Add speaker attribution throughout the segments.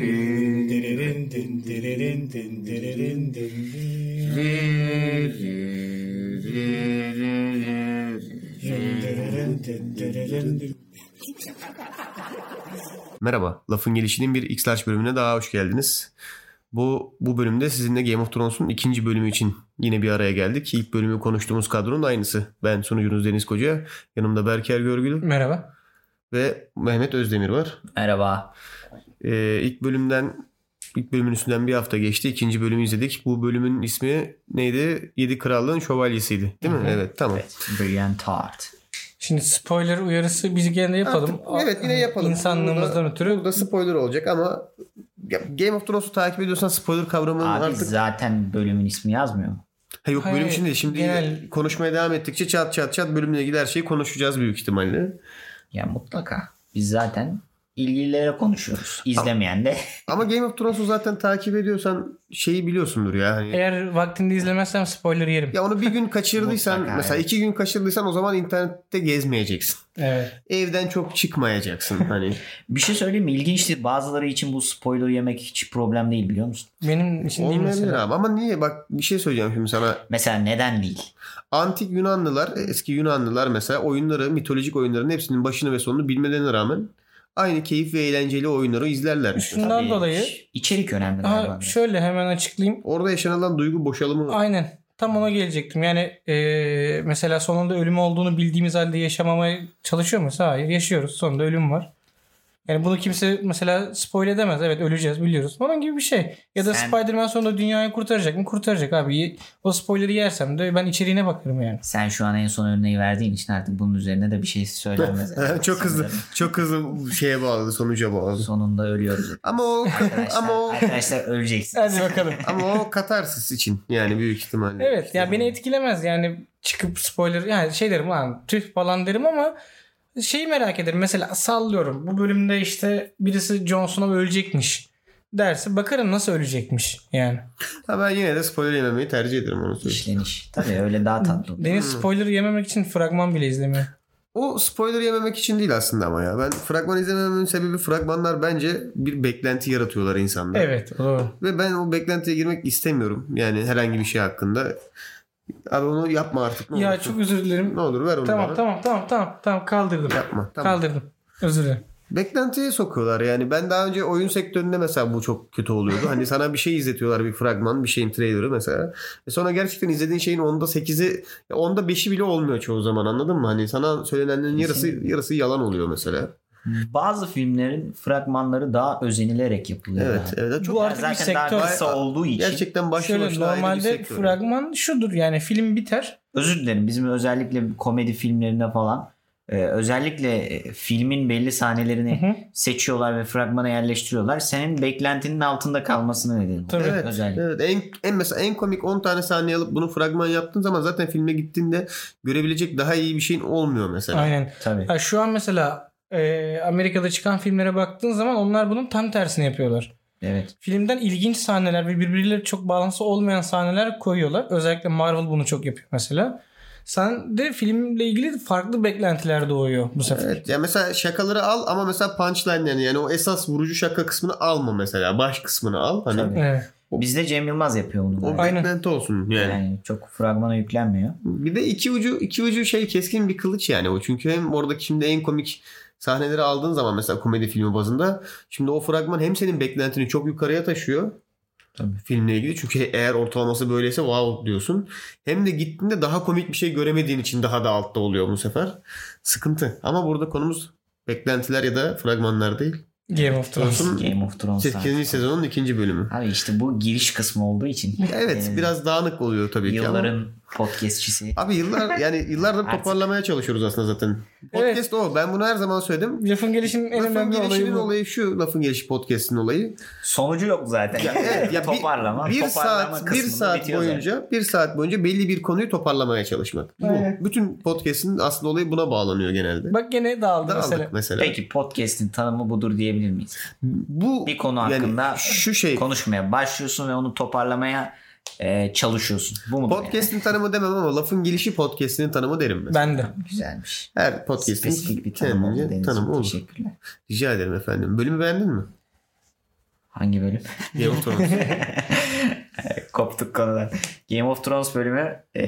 Speaker 1: Dererin din dererin din dererin din din. Dererin din dererin din.
Speaker 2: Merhaba, Lafın Gelişi'nin bir X-Large bölümüne daha hoş geldiniz. Bu, bu bölümde sizinle Game of Thrones'un ikinci bölümü için yine bir araya geldik. İlk bölümü konuştuğumuz kadronun aynısı. Ben sunucunuz Deniz Koca, yanımda Berker Görgülü
Speaker 3: Merhaba.
Speaker 2: ve Mehmet Özdemir var.
Speaker 4: Merhaba.
Speaker 2: Ee, ilk bölümden, ilk bölümün üstünden bir hafta geçti. İkinci bölümü izledik. Bu bölümün ismi neydi? Yedi Krallığın Şövalyesiydi değil mi? Evet, tamam.
Speaker 4: Brian Todd.
Speaker 3: Şimdi spoiler uyarısı biz gene yapalım.
Speaker 2: Artık- evet yine yapalım.
Speaker 3: İnsanlığımızdan
Speaker 2: Burada-
Speaker 3: ötürü
Speaker 2: Burada spoiler olacak ama ya Game of Thrones'u takip ediyorsan spoiler kavramının
Speaker 4: Abi
Speaker 2: artık...
Speaker 4: zaten bölümün ismi yazmıyor mu?
Speaker 2: Ha yok bölüm
Speaker 3: Hayır,
Speaker 2: şimdi şimdi
Speaker 3: genel-
Speaker 2: konuşmaya devam ettikçe çat çat çat bölümle ilgili her şeyi konuşacağız büyük ihtimalle.
Speaker 4: Ya mutlaka. Biz zaten ilgililere konuşuyoruz. İzlemeyen de
Speaker 2: Ama Game of Thrones'u zaten takip ediyorsan şeyi biliyorsundur ya. Hani...
Speaker 3: eğer vaktinde izlemezsem spoiler yerim.
Speaker 2: Ya onu bir gün kaçırdıysan
Speaker 4: Mutlaka,
Speaker 2: mesela
Speaker 4: evet.
Speaker 2: iki gün kaçırdıysan o zaman internette gezmeyeceksin.
Speaker 3: Evet.
Speaker 2: Evden çok çıkmayacaksın hani.
Speaker 4: bir şey söyleyeyim mi? İlginçti. Bazıları için bu spoiler yemek hiç problem değil biliyor musun?
Speaker 3: Benim için değil
Speaker 2: Olmayabilir
Speaker 3: mesela.
Speaker 2: abi ama niye bak bir şey söyleyeceğim şimdi sana.
Speaker 4: Mesela neden değil?
Speaker 2: Antik Yunanlılar, eski Yunanlılar mesela oyunları, mitolojik oyunların hepsinin başını ve sonunu bilmelerine rağmen aynı keyif ve eğlenceli oyunları izlerler.
Speaker 3: Şundan
Speaker 4: Tabii
Speaker 3: dolayı
Speaker 4: içerik önemli
Speaker 3: Aha,
Speaker 4: galiba.
Speaker 3: şöyle hemen açıklayayım.
Speaker 2: Orada yaşanılan duygu boşalımı
Speaker 3: Aynen. Tam ona gelecektim. Yani eee, mesela sonunda ölüm olduğunu bildiğimiz halde yaşamamaya çalışıyor muyuz? Hayır yaşıyoruz. Sonunda ölüm var. Yani bunu kimse mesela spoil edemez. Evet öleceğiz biliyoruz. Onun gibi bir şey. Ya da
Speaker 4: Sen-
Speaker 3: Spider-Man sonunda dünyayı kurtaracak mı? Kurtaracak abi. O spoiler'ı yersem de ben içeriğine bakarım yani.
Speaker 4: Sen şu an en son örneği verdiğin için artık bunun üzerine de bir şey söylenmez.
Speaker 2: çok hızlı çok hızlı şeye bağladı, sonuca bağladı.
Speaker 4: Sonunda ölüyoruz.
Speaker 2: Ama o
Speaker 4: Arkadaşlar,
Speaker 2: ama o
Speaker 4: arkadaşlar öleceksiniz.
Speaker 3: Hadi bakalım.
Speaker 2: ama o katarsis için yani büyük ihtimalle.
Speaker 3: Evet ya
Speaker 2: hani
Speaker 3: beni etkilemez yani çıkıp spoiler yani şey derim lan tüh falan derim ama şeyi merak ederim mesela sallıyorum bu bölümde işte birisi Jon Snow ölecekmiş derse bakarım nasıl ölecekmiş yani.
Speaker 2: Ha ben yine de spoiler yememeyi tercih ederim onu söyleyeyim.
Speaker 4: İşleniş. Tabii öyle daha tatlı.
Speaker 2: Hmm.
Speaker 3: Deniz spoiler yememek için fragman bile izlemiyor.
Speaker 2: O spoiler yememek için değil aslında ama ya. Ben fragman izlemememin sebebi fragmanlar bence bir beklenti yaratıyorlar insanlar.
Speaker 3: Evet doğru.
Speaker 2: Ve ben o beklentiye girmek istemiyorum. Yani herhangi bir şey hakkında. Abi onu yapma artık. Ne
Speaker 3: Ya
Speaker 2: olursun.
Speaker 3: çok özür dilerim.
Speaker 2: Ne olur ver onu
Speaker 3: Tamam
Speaker 2: bana.
Speaker 3: tamam tamam tamam tamam kaldırdım.
Speaker 2: Yapma. Tamam.
Speaker 3: Kaldırdım. Özür dilerim.
Speaker 2: Beklentiye sokuyorlar yani. Ben daha önce oyun sektöründe mesela bu çok kötü oluyordu. Hani sana bir şey izletiyorlar bir fragman, bir şeyin trailer'ı mesela. E sonra gerçekten izlediğin şeyin onda 8'i, ya onda 5'i bile olmuyor çoğu zaman anladın mı? Hani sana söylenenlerin yarısı
Speaker 4: Kesinlikle.
Speaker 2: yarısı yalan oluyor mesela.
Speaker 3: Hmm.
Speaker 4: Bazı filmlerin fragmanları daha özenilerek yapılıyor.
Speaker 2: Evet,
Speaker 4: Yani.
Speaker 2: evet. Çok
Speaker 3: Bu
Speaker 4: Yani
Speaker 3: artık bir
Speaker 4: zaten daha
Speaker 3: sektör.
Speaker 4: kısa olduğu için.
Speaker 2: gerçekten başlı
Speaker 3: Şöyle
Speaker 2: başına ayrı bir
Speaker 3: normalde
Speaker 2: sektör.
Speaker 3: fragman şudur yani film biter.
Speaker 4: Özür dilerim. Bizim özellikle komedi filmlerinde falan e, özellikle e, filmin belli sahnelerini
Speaker 3: Hı hı.
Speaker 4: seçiyorlar ve fragmana yerleştiriyorlar. Senin beklentinin altında kalmasına neden oluyor.
Speaker 3: Tabii.
Speaker 2: Evet.
Speaker 4: Özellikle.
Speaker 2: Evet en, en mesela en komik 10 tane sahne alıp bunu fragman yaptığın zaman zaten filme gittiğinde görebilecek daha iyi bir şeyin olmuyor mesela.
Speaker 3: Aynen.
Speaker 4: Tabii.
Speaker 3: Ya şu an mesela e, Amerika'da çıkan filmlere baktığın zaman onlar bunun tam tersini yapıyorlar.
Speaker 4: Evet.
Speaker 3: Filmden ilginç sahneler ve birbirleriyle çok bağlantısı olmayan sahneler koyuyorlar. Özellikle Marvel bunu çok yapıyor mesela. Sen de filmle ilgili farklı beklentiler doğuyor bu sefer.
Speaker 2: Evet. Ya mesela şakaları al ama mesela punchline'lerini yani o esas vurucu şaka kısmını alma mesela. Baş kısmını al. Hani
Speaker 4: Tabii.
Speaker 3: Evet.
Speaker 4: Bizde Cem Yılmaz yapıyor bunu.
Speaker 2: o
Speaker 4: Yani.
Speaker 3: Aynen.
Speaker 2: beklenti olsun yani.
Speaker 4: Yani çok fragmana yüklenmiyor.
Speaker 2: Bir de iki ucu iki ucu şey keskin bir kılıç yani o. Çünkü hem oradaki şimdi en komik sahneleri aldığın zaman mesela komedi filmi bazında şimdi o fragman hem senin beklentini çok yukarıya taşıyor.
Speaker 4: Tabii.
Speaker 2: Filmle ilgili çünkü eğer ortalaması böyleyse wow diyorsun. Hem de gittiğinde daha komik bir şey göremediğin için daha da altta oluyor bu sefer. Sıkıntı. Ama burada konumuz beklentiler ya da fragmanlar değil.
Speaker 3: Game of Thrones.
Speaker 2: Olsun.
Speaker 4: Game of Thrones.
Speaker 2: 8. sezonun ikinci bölümü.
Speaker 4: Abi işte bu giriş kısmı olduğu için.
Speaker 2: Evet
Speaker 4: Yani
Speaker 2: biraz dağınık oluyor tabii ki ama.
Speaker 4: Yılların podcastçisi.
Speaker 2: Abi yıllar yani yıllardır
Speaker 4: Artık-
Speaker 2: toparlamaya çalışıyoruz aslında zaten. Podcast o. Ben bunu her zaman söyledim.
Speaker 3: Lafın gelişinin en
Speaker 2: lafın
Speaker 3: önemli
Speaker 2: gelişinin
Speaker 3: olayı bu.
Speaker 2: olayı şu. Lafın gelişi podcast'in olayı.
Speaker 4: Sonucu yok zaten.
Speaker 2: Ya evet, ya bir-
Speaker 4: toparlama.
Speaker 2: bir
Speaker 4: toparlama
Speaker 2: saat bir
Speaker 4: kısmında
Speaker 2: saat
Speaker 4: bitiyor
Speaker 2: boyunca bir saat boyunca belli bir konuyu toparlamaya çalışmak. Bu.
Speaker 3: Aynen.
Speaker 2: Bütün podcast'in aslında olayı buna bağlanıyor genelde.
Speaker 3: Bak gene dağıldı
Speaker 2: Dağıldık
Speaker 3: mesela.
Speaker 2: mesela.
Speaker 4: zaten. Peki podcast'in tanımı budur diyebilir miyiz?
Speaker 2: Bu
Speaker 4: Bir konu
Speaker 2: yani
Speaker 4: hakkında
Speaker 2: şu şey
Speaker 4: konuşmaya başlıyorsun ve onu toparlamaya e, çalışıyorsun. Bu mu? yani?
Speaker 2: Podcast'in tanımı demem ama lafın gelişi podcast'inin tanımı derim mesela.
Speaker 3: Ben de.
Speaker 4: Güzelmiş.
Speaker 2: Her podcast'in
Speaker 4: Spesifik bir tanım oldu
Speaker 2: kendince
Speaker 4: Deniz'im.
Speaker 2: tanımı olur.
Speaker 4: Teşekkürler.
Speaker 2: Rica ederim efendim. Bölümü beğendin mi?
Speaker 4: Hangi bölüm?
Speaker 2: Game of Thrones.
Speaker 4: Koptuk konudan. Game of Thrones bölümü e,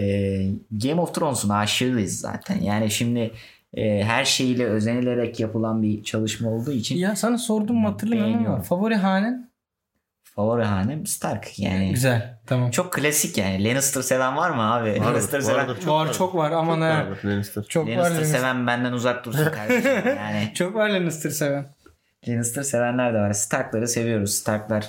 Speaker 4: Game of Thrones'un aşığıyız zaten. Yani şimdi e, her şeyiyle özenilerek yapılan bir çalışma olduğu için
Speaker 3: Ya sana sordum mu hatırlamıyorum ama
Speaker 4: Beğeniyorum.
Speaker 3: favori hanen?
Speaker 4: favori hanem Stark. Yani
Speaker 3: Güzel. Tamam.
Speaker 4: çok klasik yani. Lannister seven var mı abi?
Speaker 2: Vardır,
Speaker 4: Lannister seven.
Speaker 2: vardır,
Speaker 3: Çok var, çok var aman ha.
Speaker 2: vardır Lannister.
Speaker 3: Çok var
Speaker 4: Lannister
Speaker 3: Lannister.
Speaker 4: seven benden uzak dursun kardeşim. Yani
Speaker 3: Çok var Lannister seven.
Speaker 4: Lannister sevenler de var. Stark'ları seviyoruz. Stark'lar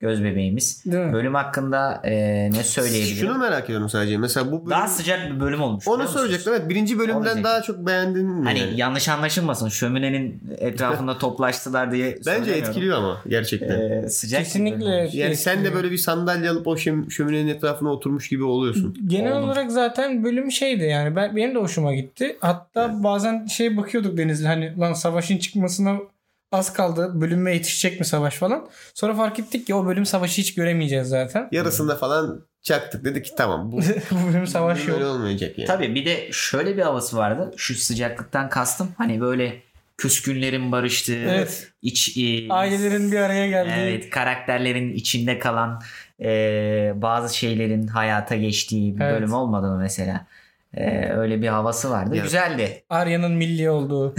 Speaker 4: göz bebeğimiz.
Speaker 3: Değil mi?
Speaker 4: Bölüm hakkında e, ne söyleyebilirim?
Speaker 2: Şunu merak ediyorum sadece. Mesela bu bölüm...
Speaker 4: Daha sıcak bir bölüm olmuş. biliyor
Speaker 2: onu
Speaker 4: musunuz?
Speaker 2: söyleyecektim. Evet, birinci
Speaker 4: Onu
Speaker 2: bölümden
Speaker 4: diyecektim.
Speaker 2: daha çok beğendin mi?
Speaker 4: Hani
Speaker 2: yani?
Speaker 4: yanlış anlaşılmasın. Şöminenin etrafında toplaştılar diye
Speaker 2: Bence
Speaker 4: söylemiyorum.
Speaker 2: etkiliyor ama gerçekten.
Speaker 4: Ee, sıcak bir
Speaker 3: Kesinlikle.
Speaker 4: bölüm olmuş.
Speaker 2: yani sen de böyle bir sandalye alıp o şöm- şöminenin etrafına oturmuş gibi oluyorsun.
Speaker 3: Genel
Speaker 4: Oldu.
Speaker 3: olarak zaten bölüm şeydi yani ben benim de hoşuma gitti. Hatta bazen şey bakıyorduk Denizli hani lan savaşın çıkmasına az kaldı. Bölüme yetişecek mi savaş falan. Sonra fark ettik ki o bölüm savaşı hiç göremeyeceğiz zaten.
Speaker 2: Yarısında falan çaktık. Dedik ki tamam bu
Speaker 3: Bu bölüm savaş
Speaker 2: böyle
Speaker 3: yok.
Speaker 2: olmayacak yani.
Speaker 4: Tabii bir de şöyle bir havası vardı. Şu sıcaklıktan kastım hani böyle küskünlerin barıştığı,
Speaker 3: Evet.
Speaker 4: iç e,
Speaker 3: Ailelerin bir araya geldiği.
Speaker 4: Evet, karakterlerin içinde kalan e, bazı şeylerin hayata geçtiği bir
Speaker 3: Evet.
Speaker 4: bölüm olmadı mı mesela? E, öyle bir havası vardı.
Speaker 2: Yani-
Speaker 4: Güzeldi.
Speaker 3: Arya'nın milli olduğu.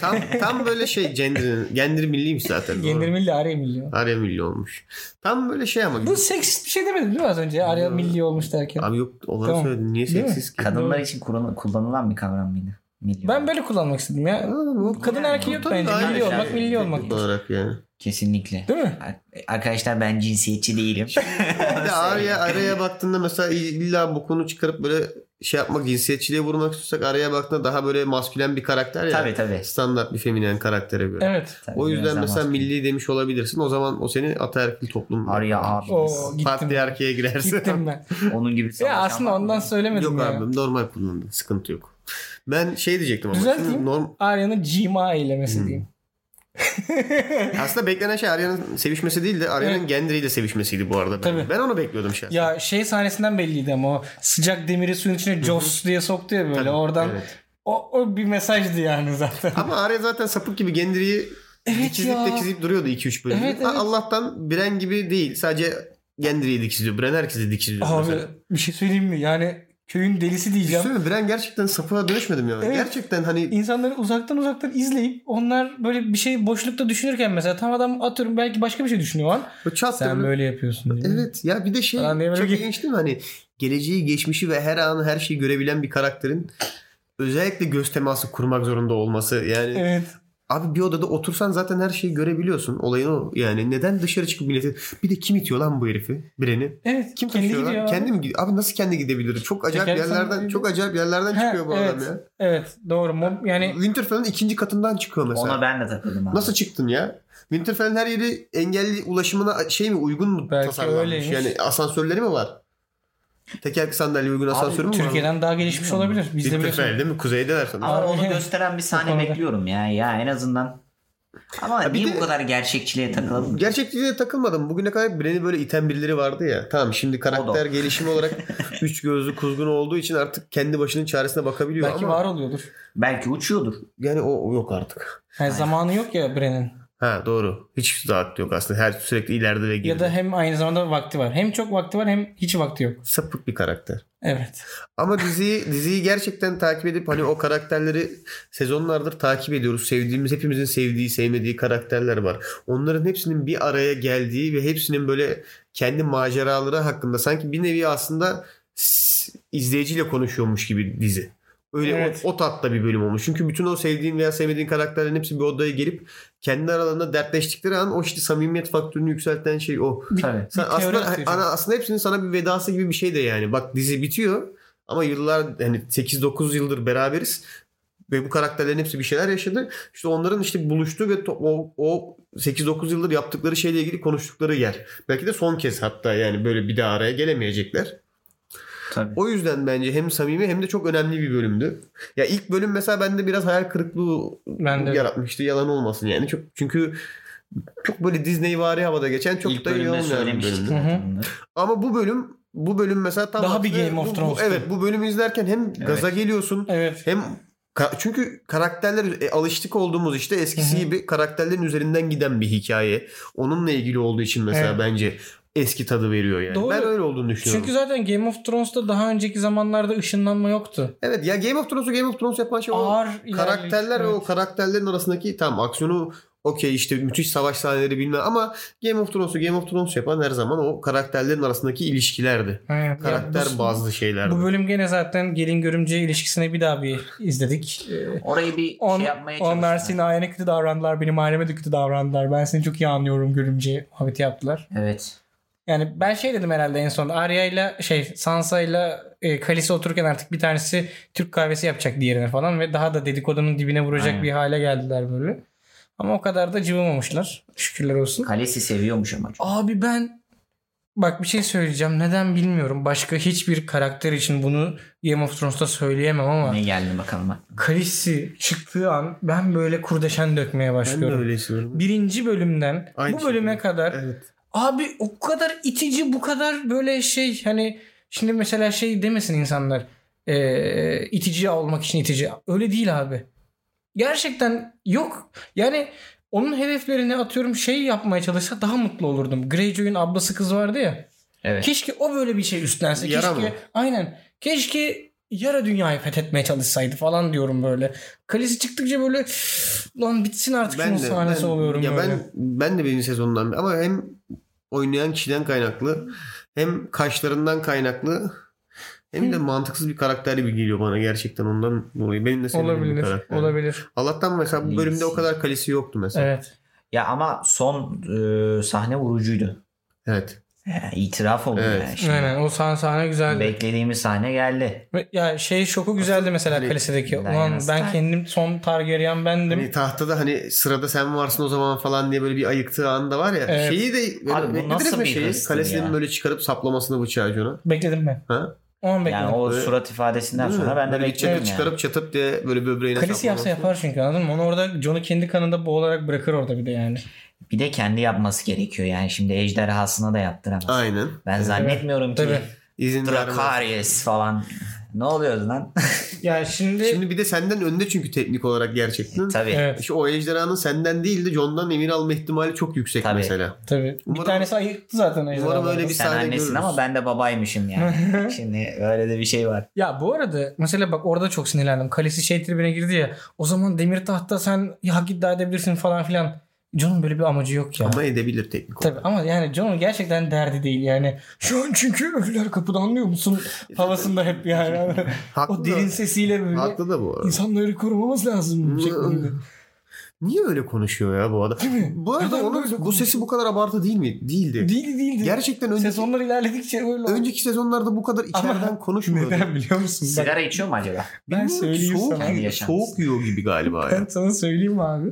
Speaker 2: tam tam böyle şey Gendry, Gendry milliymiş zaten.
Speaker 3: Yendir
Speaker 2: doğru.
Speaker 3: milli Arya milli.
Speaker 2: Arya milli olmuş. Tam böyle şey ama.
Speaker 3: Bu seksist bir şey demedim değil mi az önce? Arya milli olmuş derken.
Speaker 2: Abi yok onları
Speaker 3: Tamam.
Speaker 2: söyledim. Niye
Speaker 3: Değil mi?
Speaker 2: seksiz ki?
Speaker 4: Kadınlar için kullan- kullanılan bir kavram mıydı? Milyon.
Speaker 3: Ben böyle kullanmak istedim ya. Kadın erkeği yok bence.
Speaker 2: Tabii,
Speaker 3: Milli
Speaker 2: aynı
Speaker 3: olmak
Speaker 2: şey.
Speaker 3: milli olmak.
Speaker 2: Teknik olarak yani.
Speaker 4: Kesinlikle.
Speaker 3: Değil mi?
Speaker 4: Ar- Arkadaşlar ben cinsiyetçi değilim.
Speaker 2: Bir de araya, araya baktığında mesela illa bu konu çıkarıp böyle şey yapmak cinsiyetçiliğe vurmak istiyorsak araya baktığında daha böyle maskülen bir karakter ya.
Speaker 4: tabii tabii.
Speaker 2: Standart bir feminen karaktere göre.
Speaker 3: Evet.
Speaker 4: Tabii,
Speaker 2: O
Speaker 4: biraz
Speaker 2: yüzden
Speaker 4: daha
Speaker 2: mesela
Speaker 4: maskülen.
Speaker 2: milli demiş olabilirsin. O zaman o seni ataerkil toplum.
Speaker 4: Arya abi.
Speaker 3: Oo gittim.
Speaker 2: Patriarkiye girersin.
Speaker 3: Gittim ben.
Speaker 4: Onun gibi
Speaker 3: Ya aslında
Speaker 4: savaşan-
Speaker 3: ondan söylemedim
Speaker 2: Yok
Speaker 3: ya.
Speaker 2: abi normal kullandın. Sıkıntı yok. Ben şey diyecektim ama.
Speaker 3: Düzelteyim.
Speaker 2: şimdi norm-
Speaker 3: Arya'nın cima eylemesi
Speaker 2: Hmm.
Speaker 3: diyeyim.
Speaker 2: Aslında beklenen şey Arya'nın sevişmesi değil de Arya'nın
Speaker 3: Evet.
Speaker 2: Gendry ile sevişmesiydi bu arada. Ben,
Speaker 3: Tabii.
Speaker 2: ben onu bekliyordum şahsen.
Speaker 3: Ya şey sahnesinden belliydi ama o sıcak demiri suyun içine Joss diye soktu ya böyle
Speaker 2: Tabii,
Speaker 3: oradan.
Speaker 2: evet.
Speaker 3: O, o bir mesajdı yani zaten.
Speaker 2: Ama Arya zaten sapık gibi Gendry'yi
Speaker 3: Evet
Speaker 2: dikizleyip
Speaker 3: ya.
Speaker 2: dikizleyip duruyordu 2-3 bölüm.
Speaker 3: Evet, evet.
Speaker 2: Allah'tan Bren gibi değil. Sadece Gendry'yi dikizliyor. Bren herkesi dikizliyor.
Speaker 3: Abi
Speaker 2: mesela.
Speaker 3: bir şey söyleyeyim mi? Yani köyün delisi
Speaker 2: Bir
Speaker 3: diyeceğim.
Speaker 2: şey söyleyeyim mi? Bren gerçekten sapığa dönüşmedim ya.
Speaker 3: Evet.
Speaker 2: Gerçekten hani
Speaker 3: İnsanları uzaktan uzaktan izleyip onlar böyle bir şey boşlukta düşünürken mesela tam adam atıyorum belki başka bir şey düşünüyor o an.
Speaker 2: çat
Speaker 3: Sen böyle yapıyorsun diye.
Speaker 2: Evet ya bir de şey
Speaker 3: Falan diye böyle
Speaker 2: çok
Speaker 3: bir-
Speaker 2: ilginç değil mi? Hani geleceği, geçmişi ve her an her şeyi görebilen bir karakterin özellikle göz teması kurmak zorunda olması yani
Speaker 3: Evet.
Speaker 2: Abi bir odada otursan zaten her şeyi görebiliyorsun. Olayın o. Yani neden dışarı çıkıp milleti... Bir de kim itiyor lan bu herifi? Bireni.
Speaker 3: Evet.
Speaker 2: Kim
Speaker 3: kendi
Speaker 2: taşıyor lan?
Speaker 3: gidiyor.
Speaker 2: Kendi mi gidiyor? Abi nasıl kendi gidebilir? Çok acayip
Speaker 3: Teker
Speaker 2: yerlerden
Speaker 3: sandalyede.
Speaker 2: çok acayip yerlerden
Speaker 3: Ha,
Speaker 2: çıkıyor bu adam
Speaker 3: evet.
Speaker 2: ya.
Speaker 3: Evet doğru. Mob, yani
Speaker 2: Winterfell'in ikinci katından çıkıyor mesela.
Speaker 4: Ona ben de takıldım abi.
Speaker 2: Nasıl çıktın ya? Winterfell'in her yeri engelli ulaşımına şey mi uygun mu
Speaker 3: Belki
Speaker 2: tasarlanmış?
Speaker 3: öyleymiş.
Speaker 2: Yani asansörleri mi var? Tekerlekli sandalye uygun asansörü mü var?
Speaker 3: Türkiye'den daha gelişmiş olabilir. Biz de biliyorsun.
Speaker 2: Winterfell değil mi? Kuzeydeler sanırım.
Speaker 4: Ama
Speaker 3: Abi,
Speaker 4: onu
Speaker 3: evet.
Speaker 4: gösteren bir sahne
Speaker 3: konuda.
Speaker 4: bekliyorum ya. Ya en azından. Ama
Speaker 2: Ha, bir
Speaker 4: niye
Speaker 2: de-
Speaker 4: bu kadar gerçekçiliğe takılalım?
Speaker 2: Gerçekçiliğe takılmadım. Bugüne kadar Bren'i böyle iten birileri vardı ya. Tamam şimdi
Speaker 4: O da.
Speaker 2: karakter gelişimi olarak üç gözlü kuzgun olduğu için artık kendi başının çaresine bakabiliyor
Speaker 3: Belki
Speaker 2: ama
Speaker 3: var oluyordur.
Speaker 4: Belki uçuyordur.
Speaker 2: yani o, o yok artık.
Speaker 3: Yani zamanı yok ya Bren'in.
Speaker 2: Ha doğru. Hiç rahat yok aslında. Her sürekli ileride ve geride.
Speaker 3: Ya da hem aynı zamanda vakti var. Hem çok vakti var hem hiç vakti yok.
Speaker 2: sapık bir karakter.
Speaker 3: Evet.
Speaker 2: Ama diziyi diziyi gerçekten takip edip hani o karakterleri sezonlardır takip ediyoruz. Sevdiğimiz hepimizin sevdiği, sevmediği karakterler var. Onların hepsinin bir araya geldiği ve hepsinin böyle kendi maceraları hakkında sanki bir nevi aslında s- izleyiciyle konuşuyormuş gibi dizi. Öyle o-
Speaker 3: Evet.
Speaker 2: o, tatta bir bölüm olmuş. Çünkü bütün o sevdiğin veya sevmediğin karakterlerin hepsi bir odaya gelip kendi aralarında dertleştikleri an o işte samimiyet faktörünü yükselten şey o.
Speaker 4: Tabii.
Speaker 2: Sen
Speaker 3: Bir teori
Speaker 2: aslında, hani
Speaker 3: atıyor çünkü.
Speaker 2: ana- aslında hepsinin sana bir vedası gibi bir şey de yani. Bak dizi bitiyor ama yıllar hani 8-9 yıldır beraberiz ve bu karakterlerin hepsi bir şeyler yaşadı. İşte onların işte buluştuğu ve to- o, o 8-9 yıldır yaptıkları şeyle ilgili konuştukları yer. Belki de son kez hatta yani böyle bir daha araya gelemeyecekler.
Speaker 4: Tabii.
Speaker 2: O yüzden bence hem samimi hem de çok önemli bir bölümdü. Ya ilk bölüm mesela bende biraz hayal kırıklığı
Speaker 3: Ben de-
Speaker 2: yaratmıştı. Yalan olmasın yani. Çok çünkü çok böyle Disney vari havada geçen çok
Speaker 4: İlk
Speaker 2: da iyi
Speaker 4: bölümde
Speaker 2: olmayan bir
Speaker 4: söylemiştik
Speaker 2: bölümdü.
Speaker 4: zaten bunları.
Speaker 2: Ama bu bölüm bu bölüm mesela tam
Speaker 3: Daha
Speaker 2: aksine
Speaker 3: bir Game of
Speaker 2: bu- bu-
Speaker 3: Thrones
Speaker 2: evet bu bölümü izlerken hem gaza geliyorsun
Speaker 3: Evet.
Speaker 2: hem ka- çünkü karakterler e, alıştık olduğumuz işte eskisi gibi karakterlerin üzerinden giden bir hikaye. Onunla ilgili olduğu için mesela
Speaker 3: Evet.
Speaker 2: bence eski tadı veriyor yani.
Speaker 3: Doğru.
Speaker 2: Ben öyle olduğunu düşünüyorum.
Speaker 3: Çünkü zaten Game of Thrones'ta daha önceki zamanlarda ışınlanma yoktu.
Speaker 2: Evet ya Game of Thrones'u Game of Thrones yapan şey o
Speaker 3: Ağır ilerleyip-
Speaker 2: karakterler ve
Speaker 3: evet.
Speaker 2: o karakterlerin arasındaki tam aksiyonu okey işte müthiş savaş sahneleri bilmem ama Game of Thrones'u Game of Thrones yapan her zaman o karakterlerin arasındaki ilişkilerdi.
Speaker 3: Evet, ya
Speaker 2: Karakter
Speaker 3: bu-
Speaker 2: bazlı şeylerdi.
Speaker 3: Bu bölüm gene zaten gelin görümce ilişkisini bir daha bir izledik. Ee,
Speaker 4: Orayı bir
Speaker 3: on,
Speaker 4: şey yapmaya çalıştım.
Speaker 3: onlar senin ailene kötü davrandılar. Benim aileme de kötü davrandılar. Ben seni çok iyi anlıyorum görümce muhabbeti yaptılar.
Speaker 4: Evet.
Speaker 3: Yani ben şey dedim herhalde en son. Arya ile şey Sansa ile e, Khaleesi otururken artık bir tanesi Türk kahvesi yapacak diğerine falan ve daha da dedikodunun dibine vuracak
Speaker 4: Aynen.
Speaker 3: bir hale geldiler böyle. Ama o kadar da cıvımamışlar. Şükürler olsun.
Speaker 4: Kalesi seviyormuş ama çok.
Speaker 3: Abi ben bak bir şey söyleyeceğim. Neden bilmiyorum. Başka hiçbir karakter için bunu Game of Thrones'ta söyleyemem ama
Speaker 4: Ne geldi bakalım.
Speaker 3: Khaleesi çıktığı an ben böyle kurdeşen dökmeye
Speaker 2: ben de
Speaker 3: başlıyorum.
Speaker 2: öyle hissediyorum.
Speaker 3: Birinci bölümden
Speaker 2: Aynı
Speaker 3: bu bölüme
Speaker 2: şekilde.
Speaker 3: kadar
Speaker 2: Evet.
Speaker 3: abi o kadar itici bu kadar böyle şey hani şimdi mesela şey demesin insanlar eee, itici olmak için itici. Öyle değil abi. Gerçekten yok. Yani onun hedeflerini atıyorum şey yapmaya çalışsa daha mutlu olurdum. Greyjoy'un ablası kız vardı ya.
Speaker 4: Evet.
Speaker 3: Keşke o böyle bir şey üstlense.
Speaker 2: Yara
Speaker 3: keşke,
Speaker 2: mı?
Speaker 3: Aynen. Keşke yara dünyayı fethetmeye çalışsaydı falan diyorum böyle. Kalesi çıktıkça böyle lan bitsin artık şunun sahnesi oluyorum
Speaker 2: ya
Speaker 3: böyle.
Speaker 2: ben ben de birinci sezondan ama hem oynayan kişiden kaynaklı hem kaşlarından kaynaklı hem de mantıksız bir karakter gibi geliyor bana gerçekten ondan dolayı. Benim de sevdiğim bir
Speaker 3: olabilir.
Speaker 2: karakter.
Speaker 3: Olabilir.
Speaker 2: Allah'tan mesela bu bölümde o kadar kalesi yoktu mesela.
Speaker 3: Evet.
Speaker 4: Ya ama son e, sahne vurucuydu.
Speaker 2: Evet.
Speaker 4: E, İtiraf oldu
Speaker 2: Evet.
Speaker 4: yani şimdi.
Speaker 3: Aynen o sahne, sahne güzeldi.
Speaker 4: Beklediğimiz sahne geldi.
Speaker 3: Ve ya şey şoku güzeldi mesela
Speaker 2: Asıl-
Speaker 3: kalesideki.
Speaker 4: Diana
Speaker 3: Ulan ben
Speaker 4: Stark.
Speaker 3: kendim son Targaryen bendim.
Speaker 2: Hani tahtada hani sırada sen varsın o zaman falan diye böyle bir ayıktığı anda var ya.
Speaker 3: Evet.
Speaker 2: Şeyi de
Speaker 4: Abi bu
Speaker 2: beklediniz
Speaker 4: nasıl
Speaker 2: mi
Speaker 4: bir
Speaker 2: şeyi?
Speaker 4: hırstır
Speaker 2: Kalesinin
Speaker 4: ya?
Speaker 2: böyle çıkarıp saplamasını bıçağı Jon'a.
Speaker 3: Bekledim ben.
Speaker 2: Ha?
Speaker 3: O an bekledim.
Speaker 4: Yani o
Speaker 2: Evet.
Speaker 4: surat ifadesinden
Speaker 2: Değil mi?
Speaker 4: sonra ben de
Speaker 2: Böyle bir
Speaker 4: bekledim
Speaker 2: çıkarıp
Speaker 4: yani.
Speaker 2: çıkarıp çatıp diye böyle böbreğine
Speaker 3: Kalesi yapsa
Speaker 2: saplaması.
Speaker 3: yapar çünkü anladın mı? Onu orada Jon'u kendi kanında boğularak bırakır orada bir de yani.
Speaker 4: Bir de kendi yapması gerekiyor yani. Şimdi ejderhasına da yaptıramaz.
Speaker 2: Aynen.
Speaker 4: Ben zannetmiyorum ki
Speaker 3: Tabii.
Speaker 2: İzin vermez.
Speaker 4: Drakaris falan. Ne oluyordu lan?
Speaker 3: Ya şimdi,
Speaker 2: Şimdi bir de senden önde çünkü teknik olarak gerçekten.
Speaker 4: Tabii.
Speaker 3: evet
Speaker 2: Şu o ejderhanın senden değil de Jon'dan emin alma ihtimali çok yüksek
Speaker 4: Tabii.
Speaker 2: mesela.
Speaker 3: tabii.
Speaker 2: Umarım-
Speaker 3: bir tanesi ayıktı zaten ejderhalardan.
Speaker 2: Umarım öyle bir
Speaker 4: Sen
Speaker 2: sahne
Speaker 4: annesin
Speaker 2: görürüz.
Speaker 4: ama ben de babaymışım yani. Şimdi öyle de bir şey var.
Speaker 3: Ya bu arada mesela bak orada çok sinirlendim. Kalesi şey tribine girdi ya. O zaman demir tahta sen hak iddia edebilirsin falan filan. Jon'un böyle bir amacı yok ya.
Speaker 2: Ama edebilir teknik olarak.
Speaker 3: Tabii ama yani John'un gerçekten derdi değil yani. Şu an çünkü ölüler kapıda anlıyor musun? Havasında hep yani.
Speaker 2: Haklı
Speaker 3: o derin
Speaker 2: da-
Speaker 3: sesiyle böyle
Speaker 2: Haklı da bu arada.
Speaker 3: insanları korumamız lazım.
Speaker 2: Hı.
Speaker 3: şeklinde.
Speaker 2: Niye öyle konuşuyor ya bu adam?
Speaker 3: mi?
Speaker 2: Bu arada
Speaker 3: Neden
Speaker 2: onun
Speaker 3: böyle
Speaker 2: bu
Speaker 3: konuşuyor?
Speaker 2: sesi bu kadar abartı değil mi? Değildi.
Speaker 3: değil değildi.
Speaker 2: Gerçekten önceki,
Speaker 3: Sezonlar ilerledikçe öyle oldu.
Speaker 2: önceki sezonlarda bu kadar içeriden konuşmuyordu.
Speaker 3: Neden biliyor musun? Bak,
Speaker 4: Sigara içiyor mu acaba?
Speaker 3: ben
Speaker 2: Bilmiyorum ki,
Speaker 3: söyleyeyim
Speaker 2: soğuk,
Speaker 3: sana.
Speaker 4: Kendi
Speaker 2: yiyor,
Speaker 4: yaşantısı.
Speaker 2: soğuk yiyor gibi galiba
Speaker 3: Ben
Speaker 2: ya.
Speaker 3: sana söyleyeyim abi.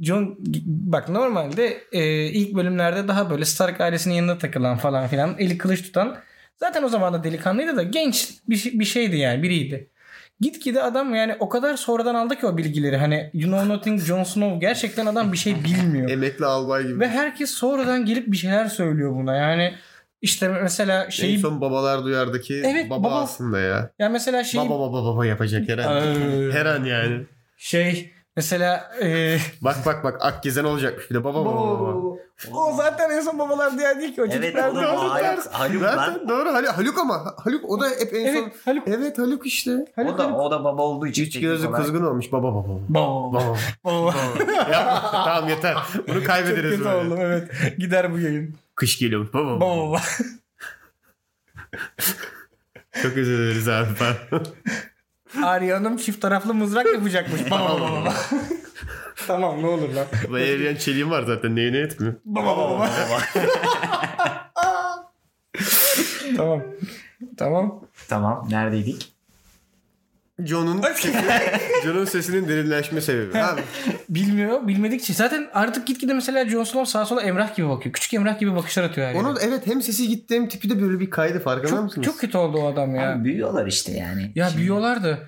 Speaker 3: John bak normalde e, ilk bölümlerde daha böyle Stark ailesinin yanında takılan falan filan eli kılıç tutan zaten o zaman da delikanlıydı da genç bir, şey- bir şeydi yani biriydi. Gitgide adam yani o kadar sonradan aldı ki o bilgileri hani you know nothing Jon Snow gerçekten adam bir şey bilmiyor.
Speaker 2: Emekli albay gibi.
Speaker 3: Ve herkes sonradan gelip bir şeyler söylüyor buna yani işte mesela
Speaker 2: en
Speaker 3: şeyi
Speaker 2: son babalar duyardaki
Speaker 3: şey- Evet,
Speaker 2: baba,
Speaker 3: baba.
Speaker 2: aslında ya.
Speaker 3: ya mesela şeyi
Speaker 2: Baba baba baba yapacak her an.
Speaker 3: Şey- Ay.
Speaker 2: her an yani.
Speaker 3: şey mesela e,
Speaker 2: Bak bak bak Akgezen olacakmış bir de baba baba baba.
Speaker 3: o zaten en son babalar diye değil ki o
Speaker 4: Evet
Speaker 3: çocuklar
Speaker 4: oğlum
Speaker 3: da-
Speaker 4: o Haluk, Haluk lan.
Speaker 2: Zaten doğru Haluk, Haluk ama Haluk o da hep en son.
Speaker 3: Evet Haluk.
Speaker 2: Evet Haluk işte.
Speaker 4: O da, o da baba olduğu için.
Speaker 2: Üç gözlü
Speaker 4: teknik olarak-
Speaker 2: kızgın olmuş baba baba. baba.
Speaker 3: Baba.
Speaker 2: Baba.
Speaker 3: Baba.
Speaker 2: ya, tamam yeter. Bunu
Speaker 3: Çok
Speaker 2: kaybederiz
Speaker 3: kötü
Speaker 2: böyle.
Speaker 3: oğlum evet. Gider bu yayın.
Speaker 2: Kış geliyormuş. Baba.
Speaker 3: Baba baba.
Speaker 2: Çok özür dileriz abi.
Speaker 3: Arya Hanım çift taraflı mızrak yapacakmış. Baba baba baba. tamam ne olur lan.
Speaker 2: Valerian çeliğim var zaten. Neyine yetmiyor.
Speaker 3: Baba baba baba. tamam. Tamam.
Speaker 4: Tamam neredeydik?
Speaker 2: John'un John'un sesinin derinleşme sebebi. Abi,
Speaker 3: Bilmiyor. Bilmedikçe. Zaten artık gitgide mesela Jon Snow sağa sola Emrah gibi bakıyor. Küçük Emrah gibi bakışlar atıyor her yere.
Speaker 2: onun evet hem sesi gitti hem tipi de böyle bir kaydı farkında mısınız?
Speaker 3: Çok kötü oldu o adam ya.
Speaker 4: Abi büyüyorlar işte yani.
Speaker 3: ya
Speaker 4: Şimdi
Speaker 3: büyüyorlar da.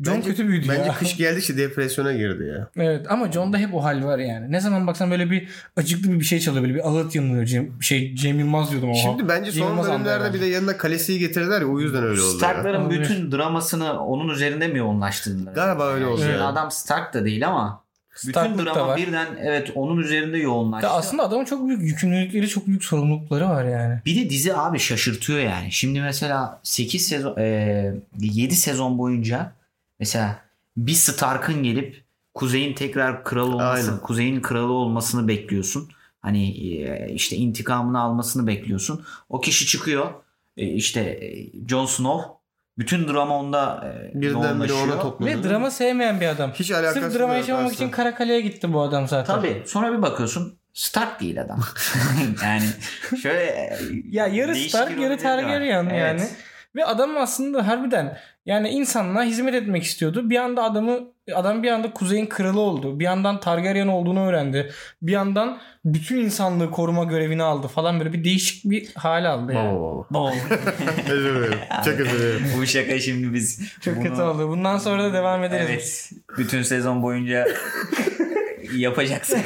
Speaker 3: John
Speaker 2: Bence-
Speaker 3: kötü büyüdü
Speaker 2: Bence
Speaker 3: ya.
Speaker 2: kış geldikçe depresyona girdi ya.
Speaker 3: Evet ama John'da hep o hal var yani. Ne zaman baksan böyle bir acıklı bir şey çalıyor. Böyle bir ağıt yanılıyor. Cem, şey, Cem Yılmaz diyordum ama.
Speaker 2: Şimdi bence
Speaker 3: Cem
Speaker 2: son
Speaker 3: Yılmaz andı
Speaker 2: bölümlerde
Speaker 3: herhalde.
Speaker 2: bir de yanına kalesiyi getirdiler ya o yüzden öyle oldu. ya.
Speaker 4: Starkların
Speaker 3: Olabilir.
Speaker 4: bütün dramasını onun üzerinde mi yoğunlaştırdılar?
Speaker 2: Galiba öyle oldu
Speaker 4: Şimdi
Speaker 2: yani.
Speaker 4: Adam Stark da değil ama bütün
Speaker 3: Starklık da
Speaker 4: drama
Speaker 3: var.
Speaker 4: birden evet onun üzerinde yoğunlaştı.
Speaker 3: Ya aslında adamın çok büyük yükümlülükleri, çok büyük sorumlulukları var yani.
Speaker 4: Bir de dizi abi şaşırtıyor yani. Şimdi mesela 8 sezon e, 7 sezon boyunca mesela bir Stark'ın gelip Kuzey'in tekrar kral olmasını,
Speaker 2: Aynen.
Speaker 4: Kuzey'in kralı olmasını bekliyorsun. Hani e, işte intikamını almasını bekliyorsun. O kişi çıkıyor. E, işte e, Jon Snow bütün drama onda e,
Speaker 2: Birden bile
Speaker 4: yoğunlaşıyor.
Speaker 2: ona toplanıyor.
Speaker 3: Ve drama sevmeyen bir adam.
Speaker 2: Hiç alakası
Speaker 3: Sırf drama
Speaker 2: yok
Speaker 3: yaşamamak
Speaker 2: aslında.
Speaker 3: için Karakale'ye gitti bu adam zaten.
Speaker 4: Tabii. Sonra bir bakıyorsun Stark değil adam. yani şöyle e,
Speaker 3: Ya yarı
Speaker 4: değişik
Speaker 3: Stark
Speaker 4: ironileri
Speaker 3: yarı
Speaker 4: var.
Speaker 3: Targaryen
Speaker 4: Evet.
Speaker 3: yani. Ve adam aslında harbiden yani insanlığa hizmet etmek istiyordu. Bir anda adamı adam bir anda kuzeyin kralı oldu. Bir yandan Targaryen olduğunu öğrendi. Bir yandan bütün insanlığı koruma görevini aldı falan böyle bir değişik bir hal aldı yani.
Speaker 2: Baba baba.
Speaker 3: Baba.
Speaker 2: Özür dilerim. Çok özür dilerim.
Speaker 4: Bu şaka şimdi biz
Speaker 3: Çok
Speaker 4: bunu-
Speaker 3: kötü oldu. Bundan sonra da devam ederiz.
Speaker 4: Evet. Bütün sezon boyunca yapacaksak.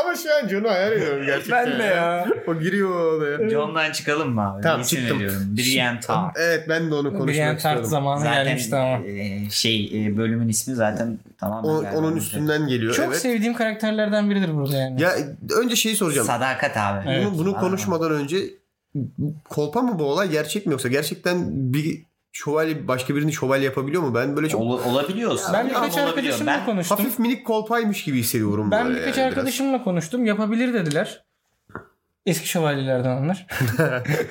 Speaker 2: Ama şu an John'u hayal ediyorum gerçekten.
Speaker 3: Ben de ya.
Speaker 2: O giriyor o odaya.
Speaker 4: John'dan çıkalım mı abi?
Speaker 2: Tamam,
Speaker 4: İsim
Speaker 2: çıktım.
Speaker 4: veriyorum. Brienne Tarth.
Speaker 2: Evet ben de onu konuşmak
Speaker 3: Brian Tart
Speaker 2: istiyordum.
Speaker 3: zamanı gelmişti ama.
Speaker 4: Zaten e, şey e, bölümün ismi zaten tamam.
Speaker 2: O- onun üstünden geliyor.
Speaker 3: Çok
Speaker 2: evet.
Speaker 3: sevdiğim karakterlerden biridir burada yani.
Speaker 2: Ya önce şeyi soracağım.
Speaker 4: Sadakat abi.
Speaker 3: Evet.
Speaker 2: bunu, bunu konuşmadan önce kolpa mı bu olay gerçek mi yoksa gerçekten bir şövalye başka birini şövalye yapabiliyor mu? Ben böyle çok
Speaker 4: Ol, olabiliyorsun.
Speaker 3: ben
Speaker 4: Tamam,
Speaker 3: birkaç
Speaker 4: olabiliyor.
Speaker 3: arkadaşımla
Speaker 4: Ben-
Speaker 3: konuştum.
Speaker 2: hafif minik kolpaymış gibi hissediyorum.
Speaker 3: Ben
Speaker 2: böyle
Speaker 3: birkaç
Speaker 2: yani biraz.
Speaker 3: arkadaşımla konuştum. Yapabilir dediler. Eski şövalyelerden onlar.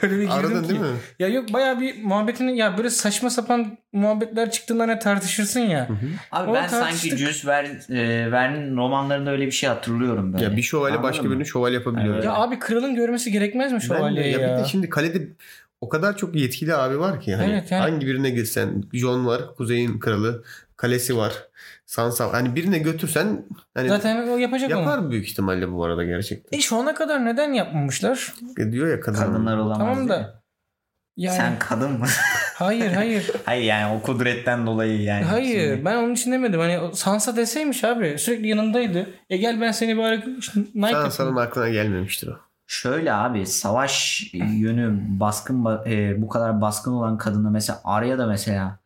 Speaker 3: Öyle bir girdim
Speaker 2: Aradın
Speaker 3: ki.
Speaker 2: değil mi?
Speaker 3: Ya yok baya bir muhabbetini ya böyle saçma sapan muhabbetler çıktığında ne tartışırsın ya.
Speaker 4: Abi
Speaker 3: Onu
Speaker 4: ben sanki
Speaker 3: tartıştık.
Speaker 4: Jules Verne, e, Verne'in romanlarında öyle bir şey hatırlıyorum böyle.
Speaker 2: Ya bir şövalye
Speaker 4: Anladın
Speaker 2: başka
Speaker 4: mı?
Speaker 2: birini şövalye yapabiliyor.
Speaker 4: Evet.
Speaker 3: Ya abi kralın görmesi gerekmez mi
Speaker 2: Ben de-
Speaker 3: şövalyeyi
Speaker 2: ya
Speaker 3: ya?
Speaker 2: bir de şimdi kalede o kadar çok yetkili abi var ki hani
Speaker 3: Evet, yani-
Speaker 2: hangi birine gitsen Jon var, Kuzey'in kralı, kalesi var. Sansa var. hani birine götürsen hani
Speaker 3: Zaten şey o yapacak onu.
Speaker 2: yapar büyük ihtimalle bu arada gerçekten.
Speaker 3: E şu ana kadar neden yapmamışlar?
Speaker 2: E, diyor ya kadın.
Speaker 4: Kadınlar olamaz.
Speaker 3: tamam
Speaker 4: diye.
Speaker 3: da. Yani
Speaker 4: Sen kadın mı?
Speaker 3: hayır hayır.
Speaker 4: Hayır yani o kudretten dolayı yani.
Speaker 3: Hayır
Speaker 4: Şimdi-
Speaker 3: ben onun için demedim. Hani o Sansa deseymiş abi sürekli yanındaydı. E gel ben seni bari Knight
Speaker 2: Sansa'nın aklına gelmemiştir o.
Speaker 4: Şöyle abi savaş yönü baskın ba- e, bu kadar baskın olan kadına mesela Arya da mesela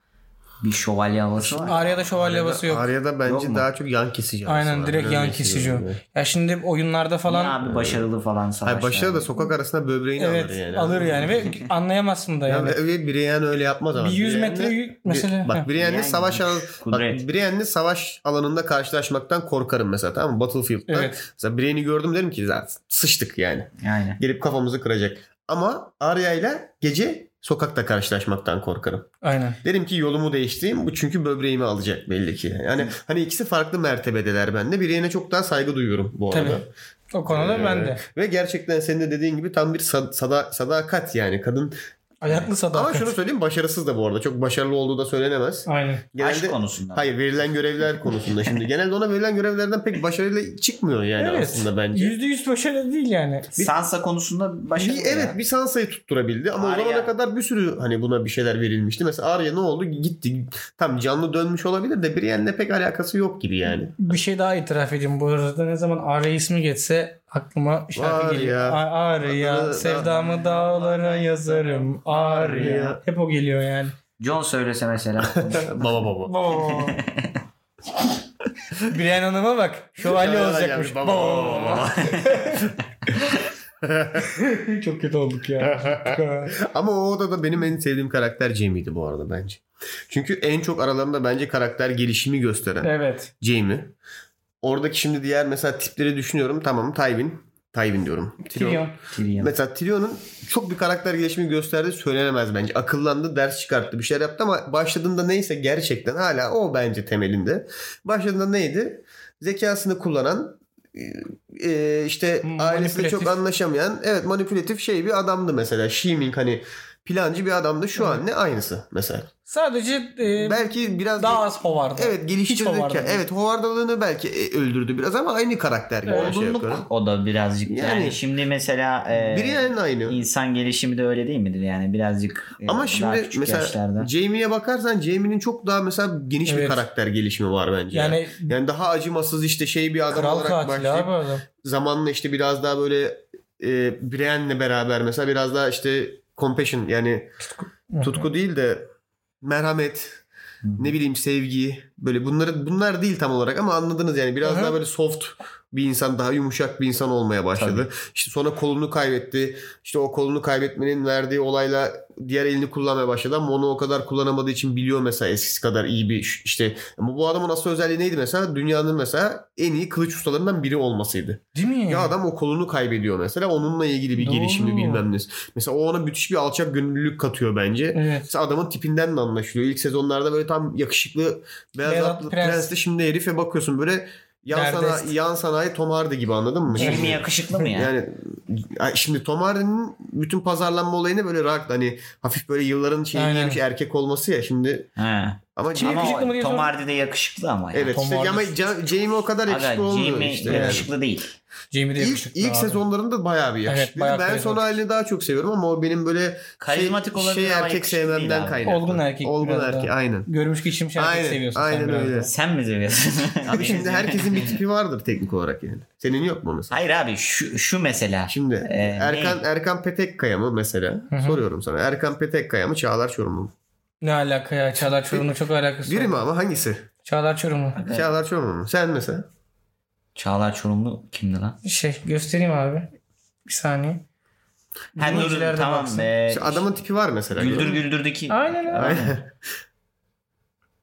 Speaker 4: bir şövalye havası var.
Speaker 3: Arya da şövalye havası yok.
Speaker 2: Arya da
Speaker 4: Yok
Speaker 2: bence
Speaker 4: mu?
Speaker 2: daha çok yan kesici. havası
Speaker 3: Aynen,
Speaker 2: var.
Speaker 3: direkt
Speaker 2: Ben
Speaker 3: yan
Speaker 2: öyle
Speaker 3: kesici
Speaker 2: hissediyorum.
Speaker 3: Ya şimdi oyunlarda
Speaker 4: falan.
Speaker 3: falan
Speaker 4: abi başarılı falan savaş.
Speaker 2: Hayır Hani başına
Speaker 4: yani.
Speaker 2: da sokak arasında böbreğini
Speaker 3: evet
Speaker 2: alır yani.
Speaker 3: alır yani ve anlayamazsın da
Speaker 2: Ya
Speaker 3: yani.
Speaker 2: ve Brienne öyle yapmaz ama.
Speaker 3: Bir 100
Speaker 2: Brienne-
Speaker 3: metre yü- mesela.
Speaker 2: Bak
Speaker 3: Heh.
Speaker 2: Brienne'le
Speaker 4: Yani
Speaker 2: savaş
Speaker 4: güç,
Speaker 2: alan- bak
Speaker 4: kudret.
Speaker 2: Brienne'le savaş alanında karşılaşmaktan korkarım mesela tamam mı? Battlefield'da.
Speaker 3: Evet.
Speaker 2: Mesela Brienne'i gördüm derim ki zaten sıçtık yani.
Speaker 4: Aynen.
Speaker 2: Gelip kafamızı kıracak. Ama Arya ile gece sokakta karşılaşmaktan korkarım.
Speaker 3: Aynen.
Speaker 2: Derim ki yolumu değiştireyim. Bu çünkü böbreğimi alacak belli ki. Yani hani ikisi farklı mertebedeler bende. Brienne'e çok daha saygı duyuyorum bu arada.
Speaker 3: Tabii. O konuda
Speaker 2: Ee,
Speaker 3: ben de.
Speaker 2: Ve gerçekten senin de dediğin gibi tam bir sad- sada- sadakat yani kadın.
Speaker 3: Ayaklı sadakat.
Speaker 2: Ama şunu söyleyeyim başarısız da bu arada. Çok başarılı olduğu da söylenemez.
Speaker 3: Aynen.
Speaker 4: Aşk konusunda.
Speaker 2: Hayır verilen görevler konusunda şimdi. Genelde ona verilen görevlerden pek başarıyla çıkmıyor yani
Speaker 3: evet.
Speaker 2: aslında bence.
Speaker 3: %100 başarılı değil yani.
Speaker 4: Sansa konusunda başarılı.
Speaker 2: Bir, evet
Speaker 4: ya.
Speaker 2: bir Sansa'yı tutturabildi ama
Speaker 4: Arya.
Speaker 2: o zamana kadar bir sürü hani buna bir şeyler verilmişti. Mesela Arya ne oldu? Gitti. Tam canlı dönmüş olabilir de Brienne'le pek alakası yok gibi yani.
Speaker 3: Bir şey daha itiraf edeyim bu arada. Ne zaman Arya ismi geçse aklıma şarkı
Speaker 2: Var
Speaker 3: geliyor.
Speaker 2: ya.
Speaker 3: A- Arya,
Speaker 2: Adını-
Speaker 3: sevdamı dağlara yazarım. Arya.
Speaker 2: Arya.
Speaker 3: Hep o geliyor yani.
Speaker 4: John söylese mesela.
Speaker 2: baba baba.
Speaker 3: Boo. Brian Hanım'a bak. Şövalye
Speaker 2: Şövalye
Speaker 3: olacakmış.
Speaker 2: gelmiş. Baba,
Speaker 3: Boo.
Speaker 2: baba,
Speaker 3: Çok kötü olduk ya.
Speaker 2: ama o odada benim en sevdiğim karakter Jamie'ydi bu arada bence. Çünkü en çok aralarında bence karakter gelişimi gösteren.
Speaker 3: evet.
Speaker 2: Jamie. Oradaki şimdi diğer mesela tipleri düşünüyorum. Tamam Tywin. Tywin diyorum.
Speaker 3: Tyrion.
Speaker 4: Tyrion.
Speaker 2: Mesela Tyrion'un çok bir karakter gelişimi gösterdiği söylenemez bence. Akıllandı, ders çıkarttı, bir şeyler yaptı ama başladığında neyse gerçekten hala o bence temelinde. Başladığında neydi? Zekasını kullanan e, e, işte ailesiyle
Speaker 3: Hmm, Manipülatif.
Speaker 2: çok anlaşamayan evet manipülatif şey bir adamdı mesela. Sheming hani plancı bir adamda şu an ne aynısı mesela.
Speaker 3: Sadece e,
Speaker 2: Belki biraz
Speaker 3: daha az hovardı.
Speaker 2: evet
Speaker 3: Hiç
Speaker 2: geliştirirken
Speaker 3: hovardı.
Speaker 2: evet hovardalığını belki e, öldürdü biraz ama aynı karakter gibi şey aşağı yukarı.
Speaker 4: Olgunluk o da birazcık. Yani,
Speaker 2: Yani-
Speaker 4: şimdi mesela
Speaker 3: Ee,
Speaker 4: e,
Speaker 2: Biri yani aynı.
Speaker 4: insan gelişimi de öyle değil midir yani birazcık e,
Speaker 2: Ama
Speaker 4: daha
Speaker 2: şimdi
Speaker 4: küçük
Speaker 2: mesela
Speaker 4: yaşlarda.
Speaker 2: Jamie'ye bakarsan Jamie'nin çok daha mesela geniş bir
Speaker 3: Evet.
Speaker 2: karakter gelişimi var bence. Yani,
Speaker 3: Yani
Speaker 2: yani daha acımasız işte şey bir adam
Speaker 3: kral
Speaker 2: olarak
Speaker 3: katil
Speaker 2: başlayıp
Speaker 3: abi adam.
Speaker 2: zamanla işte biraz daha böyle e, Brienne'le beraber mesela biraz daha işte compassion yani tutku değil de merhamet ne bileyim sevgi böyle bunları bunlar değil tam olarak ama anladınız yani biraz
Speaker 3: Aha.
Speaker 2: daha böyle soft bir insan daha yumuşak bir insan olmaya başladı. İşte sonra kolunu kaybetti. İşte o kolunu kaybetmenin verdiği olayla diğer elini kullanmaya başladı ama onu o kadar kullanamadığı için biliyor mesela eskisi kadar iyi bir ş- işte ama bu adamın asıl özelliği neydi mesela? Dünyanın mesela en iyi kılıç ustalarından biri olmasıydı.
Speaker 3: Değil mi?
Speaker 2: Ya adam o kolunu kaybediyor mesela onunla ilgili bir
Speaker 3: Doğru.
Speaker 2: gelişimi bilmem ne. Mesela o ona müthiş bir alçak gönüllülük katıyor bence.
Speaker 3: Evet.
Speaker 2: Mesela adamın tipinden de anlaşılıyor. İlk sezonlarda böyle tam yakışıklı beyaz
Speaker 3: Beyaz
Speaker 2: atlı
Speaker 3: prens.
Speaker 2: prensli şimdi herife bakıyorsun böyle yan,
Speaker 3: Derdest.
Speaker 2: sana, yan sanayi Tom Hardy gibi anladın mı?
Speaker 4: Jamie
Speaker 2: Şimdi-
Speaker 4: yakışıklı mı ya?
Speaker 2: yani ay, şimdi Tom Hardy'nin bütün pazarlanma olayını böyle rock hani hafif böyle yılların şeyi
Speaker 3: Aynen.
Speaker 2: giymiş erkek olması ya şimdi
Speaker 4: Ha.
Speaker 2: ama
Speaker 3: Kim
Speaker 4: Ama
Speaker 3: yakışıklı mı
Speaker 4: o,
Speaker 3: diye
Speaker 4: Tom
Speaker 3: sor-
Speaker 4: Hardy de yakışıklı ama. ya.
Speaker 2: evet
Speaker 3: Tom
Speaker 2: işte
Speaker 3: Hardy-
Speaker 2: ama Ca- Jamie o kadar
Speaker 4: Aga,
Speaker 2: yakışıklı olmuyor
Speaker 4: Jamie
Speaker 2: işte. yani.
Speaker 4: yakışıklı değil.
Speaker 3: Jamie de
Speaker 2: İlk,
Speaker 3: yakışıklı
Speaker 2: ilk
Speaker 3: abi.
Speaker 2: sezonlarında bayağı bir
Speaker 3: Evet,
Speaker 2: yakışıklıydı.
Speaker 3: bayağı
Speaker 2: ben
Speaker 3: karizmatik.
Speaker 2: son halini daha çok seviyorum ama o benim böyle
Speaker 4: Karizmatik
Speaker 2: şey,
Speaker 4: olabilir
Speaker 2: şey
Speaker 4: ama
Speaker 2: erkek
Speaker 4: yakışıklı değil
Speaker 2: sevmemden
Speaker 4: abi.
Speaker 2: kaynaklı.
Speaker 3: Olgun erkek
Speaker 2: Olgun
Speaker 3: biraz
Speaker 2: erkek
Speaker 3: daha.
Speaker 2: aynen.
Speaker 3: Görmüş geçirmiş erkek
Speaker 2: Aynen,
Speaker 3: seviyorsun.
Speaker 2: aynen
Speaker 3: sen biraz
Speaker 2: öyle.
Speaker 3: daha.
Speaker 4: Sen mi seviyorsun? şey
Speaker 2: Abi şimdi herkesin bir tipi vardır teknik olarak yani. Senin yok mu mesela?
Speaker 4: Hayır abi şu, şu mesela.
Speaker 2: Şimdi
Speaker 4: Ee,
Speaker 2: Erkan Erkan Petekkaya mı mesela?
Speaker 3: Hı hı.
Speaker 2: Soruyorum sana. Erkan Petekkaya mı Çağlar Çorumlu mu?
Speaker 3: Ne alaka ya? Çağlar Çorumlu çok alakası
Speaker 2: Biri
Speaker 3: var.
Speaker 2: mi ama hangisi?
Speaker 3: Çağlar Çorumlu.
Speaker 4: Evet. Ee,
Speaker 2: Çağlar Çorumlu mu? Sen mesela?
Speaker 4: Çağlar Çorumlu kimdi lan?
Speaker 3: Şey göstereyim abi. Bir saniye.
Speaker 4: Ha, dur,
Speaker 3: Dinleyiciler de
Speaker 4: tamam.
Speaker 3: baksın.
Speaker 4: ee,
Speaker 2: Şu adamın tipi var mesela.
Speaker 4: Güldür
Speaker 2: Gördün mü?
Speaker 4: Güldür'deki.
Speaker 3: Aynen öyle.
Speaker 2: Aynen.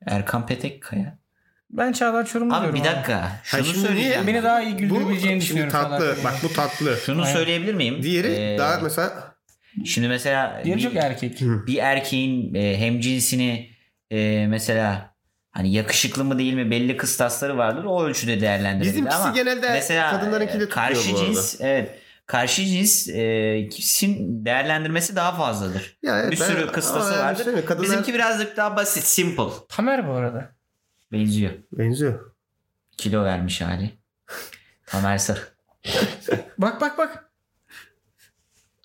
Speaker 4: Erkan Petekkaya.
Speaker 3: Ben Çağlar Çorumlu
Speaker 4: Abi
Speaker 3: diyorum
Speaker 4: bir dakika. Şunu
Speaker 2: şimdi niye-
Speaker 4: söyleyeceğim.
Speaker 3: Beni daha iyi güldürebileceğini
Speaker 2: Bu şimdi
Speaker 3: düşünüyorum.
Speaker 2: tatlı.
Speaker 3: Çağlar
Speaker 2: Bak bu tatlı.
Speaker 4: Şunu
Speaker 3: Aynen.
Speaker 4: söyleyebilir miyim?
Speaker 2: Diğeri
Speaker 4: Ee,
Speaker 2: daha mesela
Speaker 4: Şimdi mesela
Speaker 3: Diğeri
Speaker 4: bir-
Speaker 3: çok erkek.
Speaker 4: bir erkeğin e, hemcinsini e, mesela hani yakışıklı mı değil mi belli kıstasları vardır. O ölçüde değerlendirilir
Speaker 2: Bizimkisi
Speaker 4: ama
Speaker 2: genelde kadınlarınki de
Speaker 4: e, karşı
Speaker 2: tutuyor bu arada.
Speaker 4: cins evet karşı cins e, kişinin değerlendirmesi daha fazladır.
Speaker 2: Ya evet,
Speaker 4: bir
Speaker 2: ben-
Speaker 4: sürü kıstası
Speaker 2: ama yani
Speaker 4: vardır.
Speaker 2: düşünsene, kadınlar-
Speaker 4: Bizimki birazcık daha basit, simple.
Speaker 3: Tamer bu arada.
Speaker 4: Benziyor.
Speaker 2: benziyor.
Speaker 4: Kilo vermiş hali. Tamer Sarı.
Speaker 3: Bak bak bak.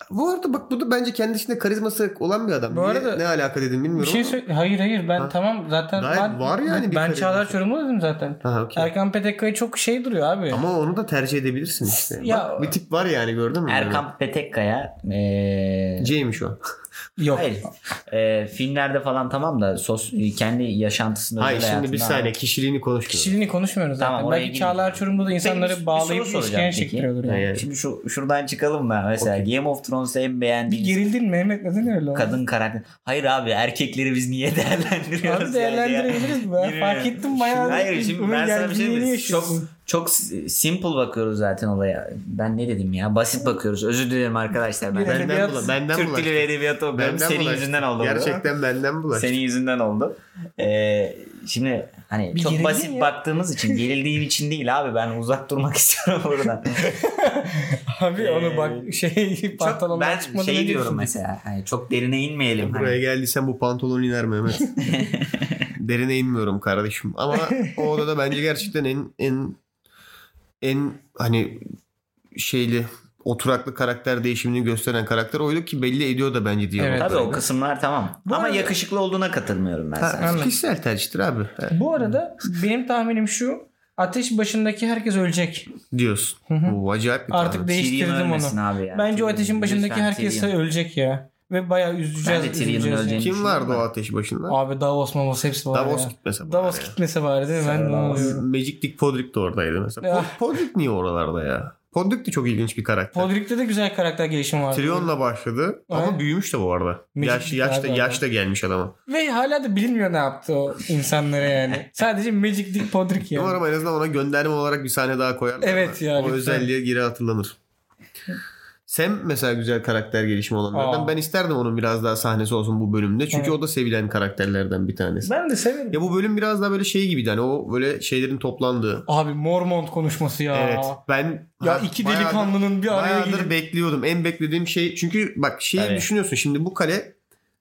Speaker 2: Bu arada bak bu da bence kendi içinde karizması olan bir adam.
Speaker 3: Bu
Speaker 2: Niye-
Speaker 3: arada-
Speaker 2: ne alaka dedim
Speaker 3: Bir
Speaker 2: bilmiyorum.
Speaker 3: şey
Speaker 2: ama-
Speaker 3: söyle. Hayır hayır ben
Speaker 2: Ha.
Speaker 3: tamam zaten.
Speaker 2: Gayet
Speaker 3: ben,
Speaker 2: var yani bir
Speaker 3: Ben
Speaker 2: kere
Speaker 3: Çağlar
Speaker 2: diyorsun.
Speaker 3: Çorumlu dedim zaten.
Speaker 2: Ha, okey.
Speaker 3: Erkan Petekkaya çok şey duruyor abi.
Speaker 2: Ama onu da tercih edebilirsin işte.
Speaker 3: Ya-
Speaker 2: Bak, bir tip var yani gördün mü?
Speaker 4: Erkan Petekkaya e,
Speaker 2: C'ymiş o.
Speaker 3: Yok.
Speaker 4: Hayır. Ee, filmlerde falan tamam da sos, kendi yaşantısında
Speaker 2: Hayır şimdi bir saniye kişiliğini konuşmuyoruz.
Speaker 3: Kişiliğini konuşmuyoruz zaten.
Speaker 4: Tamam, oraya
Speaker 3: Belki
Speaker 4: girmeyeyim.
Speaker 3: Çağlar Çorumlu da insanları
Speaker 4: Peki, bir
Speaker 3: bağlayıp
Speaker 4: soru
Speaker 3: bir
Speaker 4: soracağım
Speaker 3: işkence
Speaker 4: peki.
Speaker 3: çektiriyordur. Yani.
Speaker 2: Yani-
Speaker 4: Şimdi şu şuradan çıkalım mı? Mesela Game of Thrones'ta en
Speaker 3: Bir
Speaker 4: beğendiğiniz
Speaker 3: gerildin mi Mehmet? Neden öyle oldu?
Speaker 4: kadın karakter. Hayır abi erkekleri biz niye değerlendiriyoruz?
Speaker 3: Abi
Speaker 4: yani ya?
Speaker 3: değerlendirebiliriz mi?
Speaker 4: Bilmiyorum.
Speaker 3: Fark ettim bayağı.
Speaker 4: Şimdi, hayır şimdi ben sana bir şey
Speaker 3: gerginliğini
Speaker 4: diyeyim. Çok,
Speaker 3: yaşıyorsun.
Speaker 4: çok s- simple bakıyoruz zaten olaya. Ben ne dedim ya? Basit bakıyoruz. Özür dilerim arkadaşlar. Ben,
Speaker 3: Bir
Speaker 2: Benden,
Speaker 3: edebiyat-
Speaker 2: bula, benden
Speaker 4: Türk
Speaker 2: bulaştı.
Speaker 4: dili ve edebiyatı okuyorum.
Speaker 2: Benden
Speaker 4: Senin
Speaker 2: bulaştı.
Speaker 4: yüzünden oldu. bu.
Speaker 2: Gerçekten benden bulaştı.
Speaker 4: Senin yüzünden oldu. Ee, şimdi hani
Speaker 3: Bir
Speaker 4: çok
Speaker 3: gerildin
Speaker 4: basit
Speaker 3: ya.
Speaker 4: baktığımız için gerildiğim için değil abi ben uzak durmak istiyorum buradan.
Speaker 3: Abi onu bak şey
Speaker 4: Ee, çok,
Speaker 3: pantolonlar
Speaker 4: ben
Speaker 3: çıkmadan
Speaker 4: şey
Speaker 3: önce
Speaker 4: diyorum
Speaker 3: düşün.
Speaker 4: mesela hani çok derine inmeyelim.
Speaker 2: Buraya
Speaker 4: Hani.
Speaker 2: geldiysen bu pantolon iner Mehmet. Derine inmiyorum kardeşim. Ama o odada bence gerçekten en en en hani şeyli oturaklı karakter değişimini gösteren karakter oydu ki belli ediyor da bence diyor.
Speaker 3: Evet.
Speaker 4: Tabii o kısımlar tamam.
Speaker 3: Bu
Speaker 4: Ama
Speaker 3: arada-
Speaker 4: yakışıklı olduğuna katılmıyorum ben sana.
Speaker 2: Ha, kişisel tercihtir abi. Ha,
Speaker 3: Bu arada benim tahminim şu. Ateş başındaki herkes ölecek.
Speaker 2: Diyorsun. Bu acayip bir
Speaker 3: Artık
Speaker 2: tanrı.
Speaker 3: değiştirdim onu.
Speaker 4: ölmesin abi ya.
Speaker 3: Bence o ateşin başındaki
Speaker 4: Lütfen
Speaker 3: herkes
Speaker 4: Tyrion.
Speaker 3: ölecek ya. Ve bayağı üzüleceğiz.
Speaker 4: Ben de Tyrion'un
Speaker 3: üzüleceğiz yani.
Speaker 4: öleceğini-
Speaker 2: Kim vardı o ateş başında?
Speaker 3: Abi Davos Mamos hepsi var
Speaker 2: Davos
Speaker 3: şey ya.
Speaker 2: gitmese. bari
Speaker 3: Davos
Speaker 2: ya.
Speaker 3: gitmese bari değil mi? Ben de onu
Speaker 4: Davos.
Speaker 3: diyorum.
Speaker 2: Magic Dick Podrick de oradaydı mesela.
Speaker 3: Ya.
Speaker 2: Pod- Podrick niye oralarda ya? Podrick de çok ilginç bir karakter.
Speaker 3: Podrick'te de güzel karakter gelişimi var.
Speaker 2: Trion'la başladı ama
Speaker 3: Aynen.
Speaker 2: büyümüş de bu arada.
Speaker 3: Magic
Speaker 2: Yaş,
Speaker 3: Dick
Speaker 2: yaş, da,
Speaker 3: abi adam.
Speaker 2: yaş da gelmiş adama.
Speaker 3: Ve hala da bilinmiyor ne yaptı o insanlara yani. Sadece Magic Dick Podrick yani.
Speaker 2: Umarım en azından ona gönderme olarak bir sahne daha koyarlar.
Speaker 3: Evet ya,
Speaker 2: O
Speaker 3: lütfen.
Speaker 2: özelliğe geri hatırlanır. Sam mesela güzel karakter gelişimi olanlardan.
Speaker 3: Aa.
Speaker 2: Ben isterdim onun biraz daha sahnesi olsun bu bölümde. Çünkü
Speaker 3: Evet.
Speaker 2: o da sevilen karakterlerden bir tanesi.
Speaker 3: Ben de severim.
Speaker 2: Ya bu bölüm biraz daha böyle şey gibiydi. Hani o böyle şeylerin toplandığı.
Speaker 3: Abi Mormont konuşması ya.
Speaker 2: Evet. Ben
Speaker 3: Ya
Speaker 2: ha,
Speaker 3: iki
Speaker 2: bayağıdır-
Speaker 3: delikanlının bir araya
Speaker 2: Bayağıdır
Speaker 3: gelip
Speaker 2: bekliyordum. En beklediğim şey çünkü bak şeyi
Speaker 4: Tabii.
Speaker 2: düşünüyorsun şimdi bu kale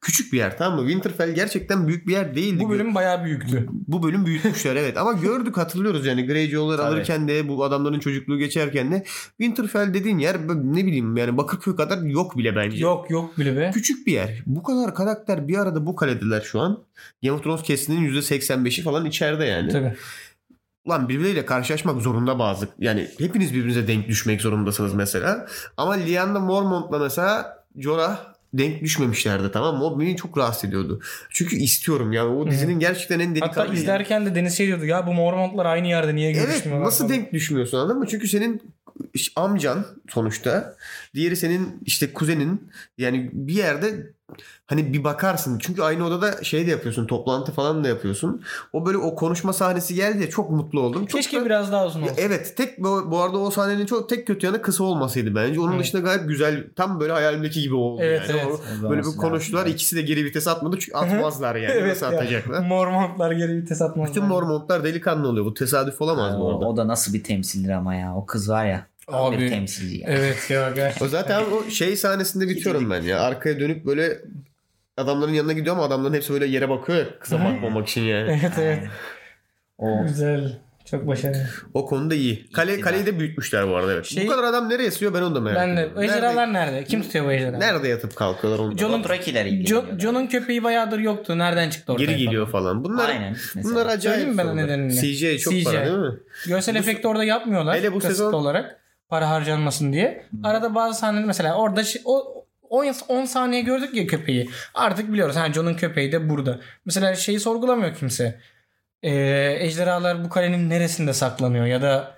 Speaker 2: Küçük bir yer tamam mı? Winterfell gerçekten büyük bir yer değildi.
Speaker 3: Bu bölüm bayağı büyüktü.
Speaker 2: bu bölüm büyütmüşler evet ama gördük hatırlıyoruz yani Greyjoy'ları
Speaker 4: Tabii.
Speaker 2: alırken de bu adamların çocukluğu geçerken de Winterfell dediğin yer b- ne bileyim yani Bakırköy kadar yok bile bence.
Speaker 3: Yok yok bile be.
Speaker 2: Küçük bir yer. Bu kadar karakter bir arada bu kaledeler şu an. Game of Thrones kesinin %85'i falan içeride yani.
Speaker 3: Tabii.
Speaker 2: Lan birbirleriyle karşılaşmak zorunda bazı. Yani hepiniz birbirinize denk düşmek zorundasınız mesela. Ama Lyanna Mormont'la mesela Jorah denk düşmemişlerdi tamam mı? O beni çok rahatsız ediyordu. Çünkü istiyorum yani o dizinin gerçekten en delikanlı.
Speaker 3: Hatta izlerken de Deniz şey diyordu ya bu Mormontlar aynı yerde niye
Speaker 2: Evet
Speaker 3: görüşmüyorlar?
Speaker 2: nasıl
Speaker 3: falan.
Speaker 2: denk düşmüyorsun anladın mı? Çünkü senin iş- amcan sonuçta diğeri senin işte kuzenin yani bir yerde hani bir bakarsın çünkü aynı odada şey de yapıyorsun toplantı falan da yapıyorsun. O böyle o konuşma sahnesi geldi ya çok mutlu oldum. Çok
Speaker 3: Keşke
Speaker 2: da-
Speaker 3: biraz daha uzun olsun.
Speaker 2: Evet tek bu, bu arada o sahnenin çok tek kötü yanı kısa olmasıydı bence. Onun
Speaker 3: Evet.
Speaker 2: dışında gayet güzel tam böyle hayalimdeki gibi oldu
Speaker 3: Evet,
Speaker 2: yani.
Speaker 3: evet.
Speaker 2: O- Böyle bir konuştular ikisi de geri vites atmadı çünkü atmazlar yani
Speaker 3: Evet
Speaker 2: nasıl
Speaker 3: ya.
Speaker 2: atacaklar.
Speaker 3: Mormontlar geri vites atmaz.
Speaker 2: Bütün Mormontlar delikanlı oluyor. Bu tesadüf olamaz bu
Speaker 4: o,
Speaker 2: arada.
Speaker 4: o da nasıl bir temsildir ama ya. O kız var ya. Tam bir
Speaker 3: Abi. e,
Speaker 4: temsilci ya.
Speaker 3: Evet ya
Speaker 2: O
Speaker 3: gerçekten.
Speaker 2: zaten o şey sahnesinde bitiyorum ben ya. Arkaya dönüp böyle adamların yanına gidiyor ama adamların hepsi böyle yere bakıyor ya, kıza bakmamak için yani.
Speaker 3: evet evet.
Speaker 4: O
Speaker 3: Güzel. Çok başarılı.
Speaker 2: O konuda iyi. Kale, kaleyi de büyütmüşler bu arada evet.
Speaker 3: Şey-
Speaker 2: bu kadar adam nereye esiyor ben onu da merak
Speaker 3: Ben de.
Speaker 2: ediyorum. nerede,
Speaker 3: Ejderhalar nerede? Kim tutuyor bu ejderhaları?
Speaker 2: nerede yatıp kalkıyorlar onu da-
Speaker 3: John'un
Speaker 4: Dothrakiler
Speaker 3: Jo-
Speaker 4: ilgileniyor.
Speaker 3: John'un köpeği bayağıdır yoktu. Nereden çıktı ortaya?
Speaker 2: Geri geliyor
Speaker 3: falan?
Speaker 2: falan. Bunlar
Speaker 4: Aynen. Mesela.
Speaker 2: bunlar acayip.
Speaker 3: Söyleyeyim mi ben
Speaker 2: sorular.
Speaker 3: nedenini?
Speaker 2: CGI çok
Speaker 3: CGI.
Speaker 2: para değil mi?
Speaker 3: Görsel efekti orada yapmıyorlar.
Speaker 2: Hele bu
Speaker 3: kasıtlı
Speaker 2: sezon- Hmm.
Speaker 3: olarak para harcanmasın diye. Arada bazı sahneler mesela orada şi- o 10 saniye gördük ya köpeği. Artık biliyoruz. Ha John'un köpeği de burada. Mesela şeyi sorgulamıyor kimse. Ee, ejderhalar bu kalenin neresinde saklanıyor ya da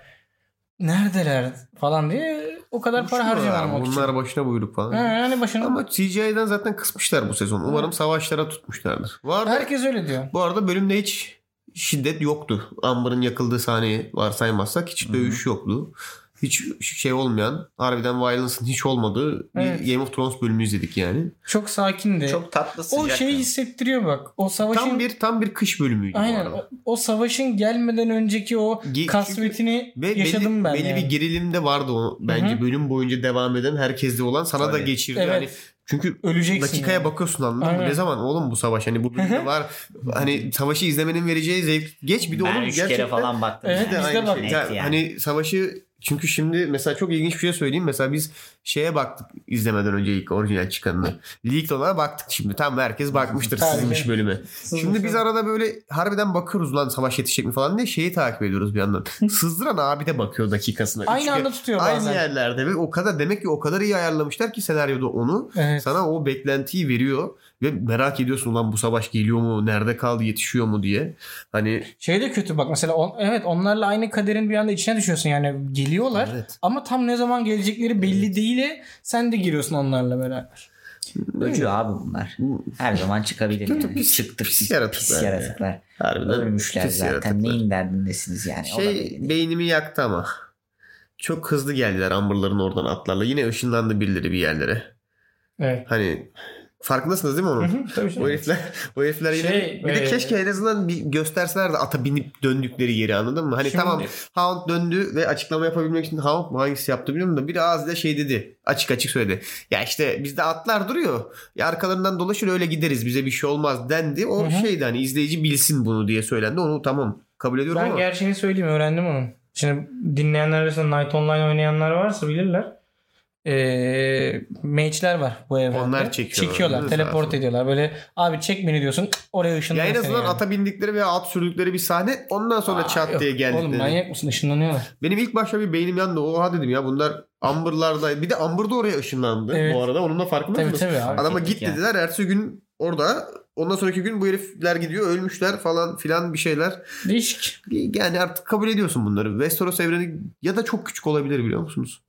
Speaker 3: neredeler falan diye o kadar para
Speaker 2: Şunlar
Speaker 3: harcamamak
Speaker 2: abi,
Speaker 3: için.
Speaker 2: Bunlar başına buyruk falan.
Speaker 3: Ha, yani başına
Speaker 2: Ama CGI'den zaten kısmışlar bu sezon. Umarım savaşlara tutmuşlardır. Var mı?
Speaker 3: herkes öyle diyor.
Speaker 2: Bu arada bölümde hiç şiddet yoktu. Amber'ın yakıldığı sahneyi varsaymazsak hiç dövüş yoktu. Hiç şey olmayan, harbiden violence'ın hiç olmadığı
Speaker 3: Evet.
Speaker 2: bir Game of Thrones bölümü izledik yani.
Speaker 3: Çok sakindi.
Speaker 4: Çok tatlı sıcak.
Speaker 3: E, o şey şeyi hissettiriyor bak. O savaşın
Speaker 2: Tam bir tam bir kış bölümüydü
Speaker 3: Aynen.
Speaker 2: bu arada.
Speaker 3: O, o savaşın gelmeden önceki o
Speaker 2: Ge-
Speaker 3: kasvetini
Speaker 2: Ve
Speaker 3: yaşadım
Speaker 2: belli,
Speaker 3: ben.
Speaker 2: belli
Speaker 3: yani.
Speaker 2: bir gerilimde vardı o bence
Speaker 3: Hı hı.
Speaker 2: bölüm boyunca devam eden herkeste olan sana da
Speaker 4: Tabii.
Speaker 2: geçirdi
Speaker 3: Evet.
Speaker 2: yani çünkü
Speaker 3: Öleceksin.
Speaker 2: dakikaya
Speaker 3: yani.
Speaker 2: bakıyorsun anladın mı?
Speaker 3: Aynen.
Speaker 2: Ne zaman oğlum bu savaş hani bu bölümde var hani savaşı izlemenin vereceği zevk geç bir de
Speaker 4: ben
Speaker 2: onun
Speaker 4: üç kere
Speaker 2: gerçekten
Speaker 4: falan baktım.
Speaker 3: Evet,
Speaker 2: Bir de
Speaker 3: Bizde
Speaker 2: aynı
Speaker 3: bak-
Speaker 2: şey.
Speaker 4: Net
Speaker 2: Ya
Speaker 4: yani.
Speaker 2: Hani savaşı çünkü şimdi mesela çok ilginç bir şey söyleyeyim. Mesela biz şeye baktık izlemeden önce ilk orijinal çıkanını. Leaked olana baktık şimdi. Tam herkes bakmıştır
Speaker 3: Tabii.
Speaker 2: sızmış bölüme. Şimdi biz arada böyle harbiden bakıyoruz lan savaş yetişecek mi falan diye şeyi takip ediyoruz bir yandan. Sızdıran abi de bakıyor dakikasına.
Speaker 3: Aynı
Speaker 2: Çünkü
Speaker 3: anda tutuyor
Speaker 2: Aynı
Speaker 3: bazen.
Speaker 2: yerlerde ve o kadar demek ki o kadar iyi ayarlamışlar ki senaryoda onu.
Speaker 3: Evet.
Speaker 2: Sana o beklentiyi veriyor ve merak ediyorsun ulan bu savaş geliyor mu? Nerede kaldı? Yetişiyor mu diye. Hani
Speaker 3: Şey de kötü bak mesela on- evet onlarla aynı kaderin bir anda içine düşüyorsun yani geliyorlar
Speaker 2: Evet.
Speaker 3: ama tam ne zaman gelecekleri belli değil e, sen de giriyorsun onlarla beraber.
Speaker 4: Öcü abi bunlar. Her zaman çıkabilir yani.
Speaker 2: pis-
Speaker 4: Çıktı
Speaker 2: pis
Speaker 4: pis,
Speaker 2: yaratıklar
Speaker 4: pis
Speaker 2: ya.
Speaker 4: yaratıklar.
Speaker 2: harbiden
Speaker 4: Ölmüşler
Speaker 2: pis
Speaker 4: zaten.
Speaker 2: yaratıklar.
Speaker 4: Neyin derdindesiniz yani? O da
Speaker 2: Şey
Speaker 4: belli değil.
Speaker 2: beynimi yaktı ama. Çok hızlı geldiler amberların oradan atlarla. Yine ışınlandı birileri bir yerlere.
Speaker 3: Evet.
Speaker 2: Hani farkındasınız değil mi
Speaker 3: Hı
Speaker 2: onun?
Speaker 3: hı, Tabii
Speaker 2: o
Speaker 3: canım.
Speaker 2: herifler, o herifler yine
Speaker 3: Şey,
Speaker 2: bir de
Speaker 3: e-
Speaker 2: keşke en azından bir gösterseler de ata binip döndükleri yeri anladın mı? Hani
Speaker 3: Şimdi-
Speaker 2: tamam Hound döndü ve açıklama yapabilmek için Hound mu hangisi yaptı bilmiyorum da biri ağzıyla şey dedi. Açık açık söyledi. Ya işte bizde atlar duruyor. Ya arkalarından dolaşır öyle gideriz bize bir şey olmaz dendi. O
Speaker 3: Hı hı.
Speaker 2: şeydi hani izleyici bilsin bunu diye söylendi. Onu tamam kabul ediyorum
Speaker 3: Ben
Speaker 2: ama.
Speaker 3: gerçeğini söyleyeyim öğrendim onu. Şimdi dinleyenler arasında Night Online oynayanlar varsa bilirler. Ee, mage'ler var bu evrende.
Speaker 2: Onlar çekiyorlar,
Speaker 3: Çekiyorlar.
Speaker 2: değil mi?
Speaker 3: Teleport
Speaker 2: Sağ
Speaker 3: ediyorlar. Böyle abi çek beni diyorsun oraya
Speaker 2: Ya
Speaker 3: ışınlanıyor.
Speaker 2: en
Speaker 3: seni
Speaker 2: azından
Speaker 3: yani.
Speaker 2: ata bindikleri veya at sürdükleri bir sahne ondan sonra
Speaker 3: Aa,
Speaker 2: çat
Speaker 3: yok.
Speaker 2: diye geldikleri.
Speaker 3: Oğlum manyak mısın ışınlanıyorlar.
Speaker 2: Benim ilk başta bir beynim yandı. Oha dedim ya bunlar Amber'larda. Bir de Amber da oraya ışınlandı
Speaker 3: Evet.
Speaker 2: bu arada. Onun da farkında
Speaker 3: Tabii
Speaker 2: mısınız?
Speaker 3: tabii abi.
Speaker 2: Adama
Speaker 4: Fark ettik
Speaker 2: git
Speaker 4: ya.
Speaker 2: dediler. Ertesi gün orada. Ondan sonraki gün bu herifler gidiyor. Ölmüşler falan filan bir şeyler.
Speaker 3: Değişik.
Speaker 2: Yani artık kabul ediyorsun bunları. Westeros evreni ya da çok küçük olabilir biliyor musunuz?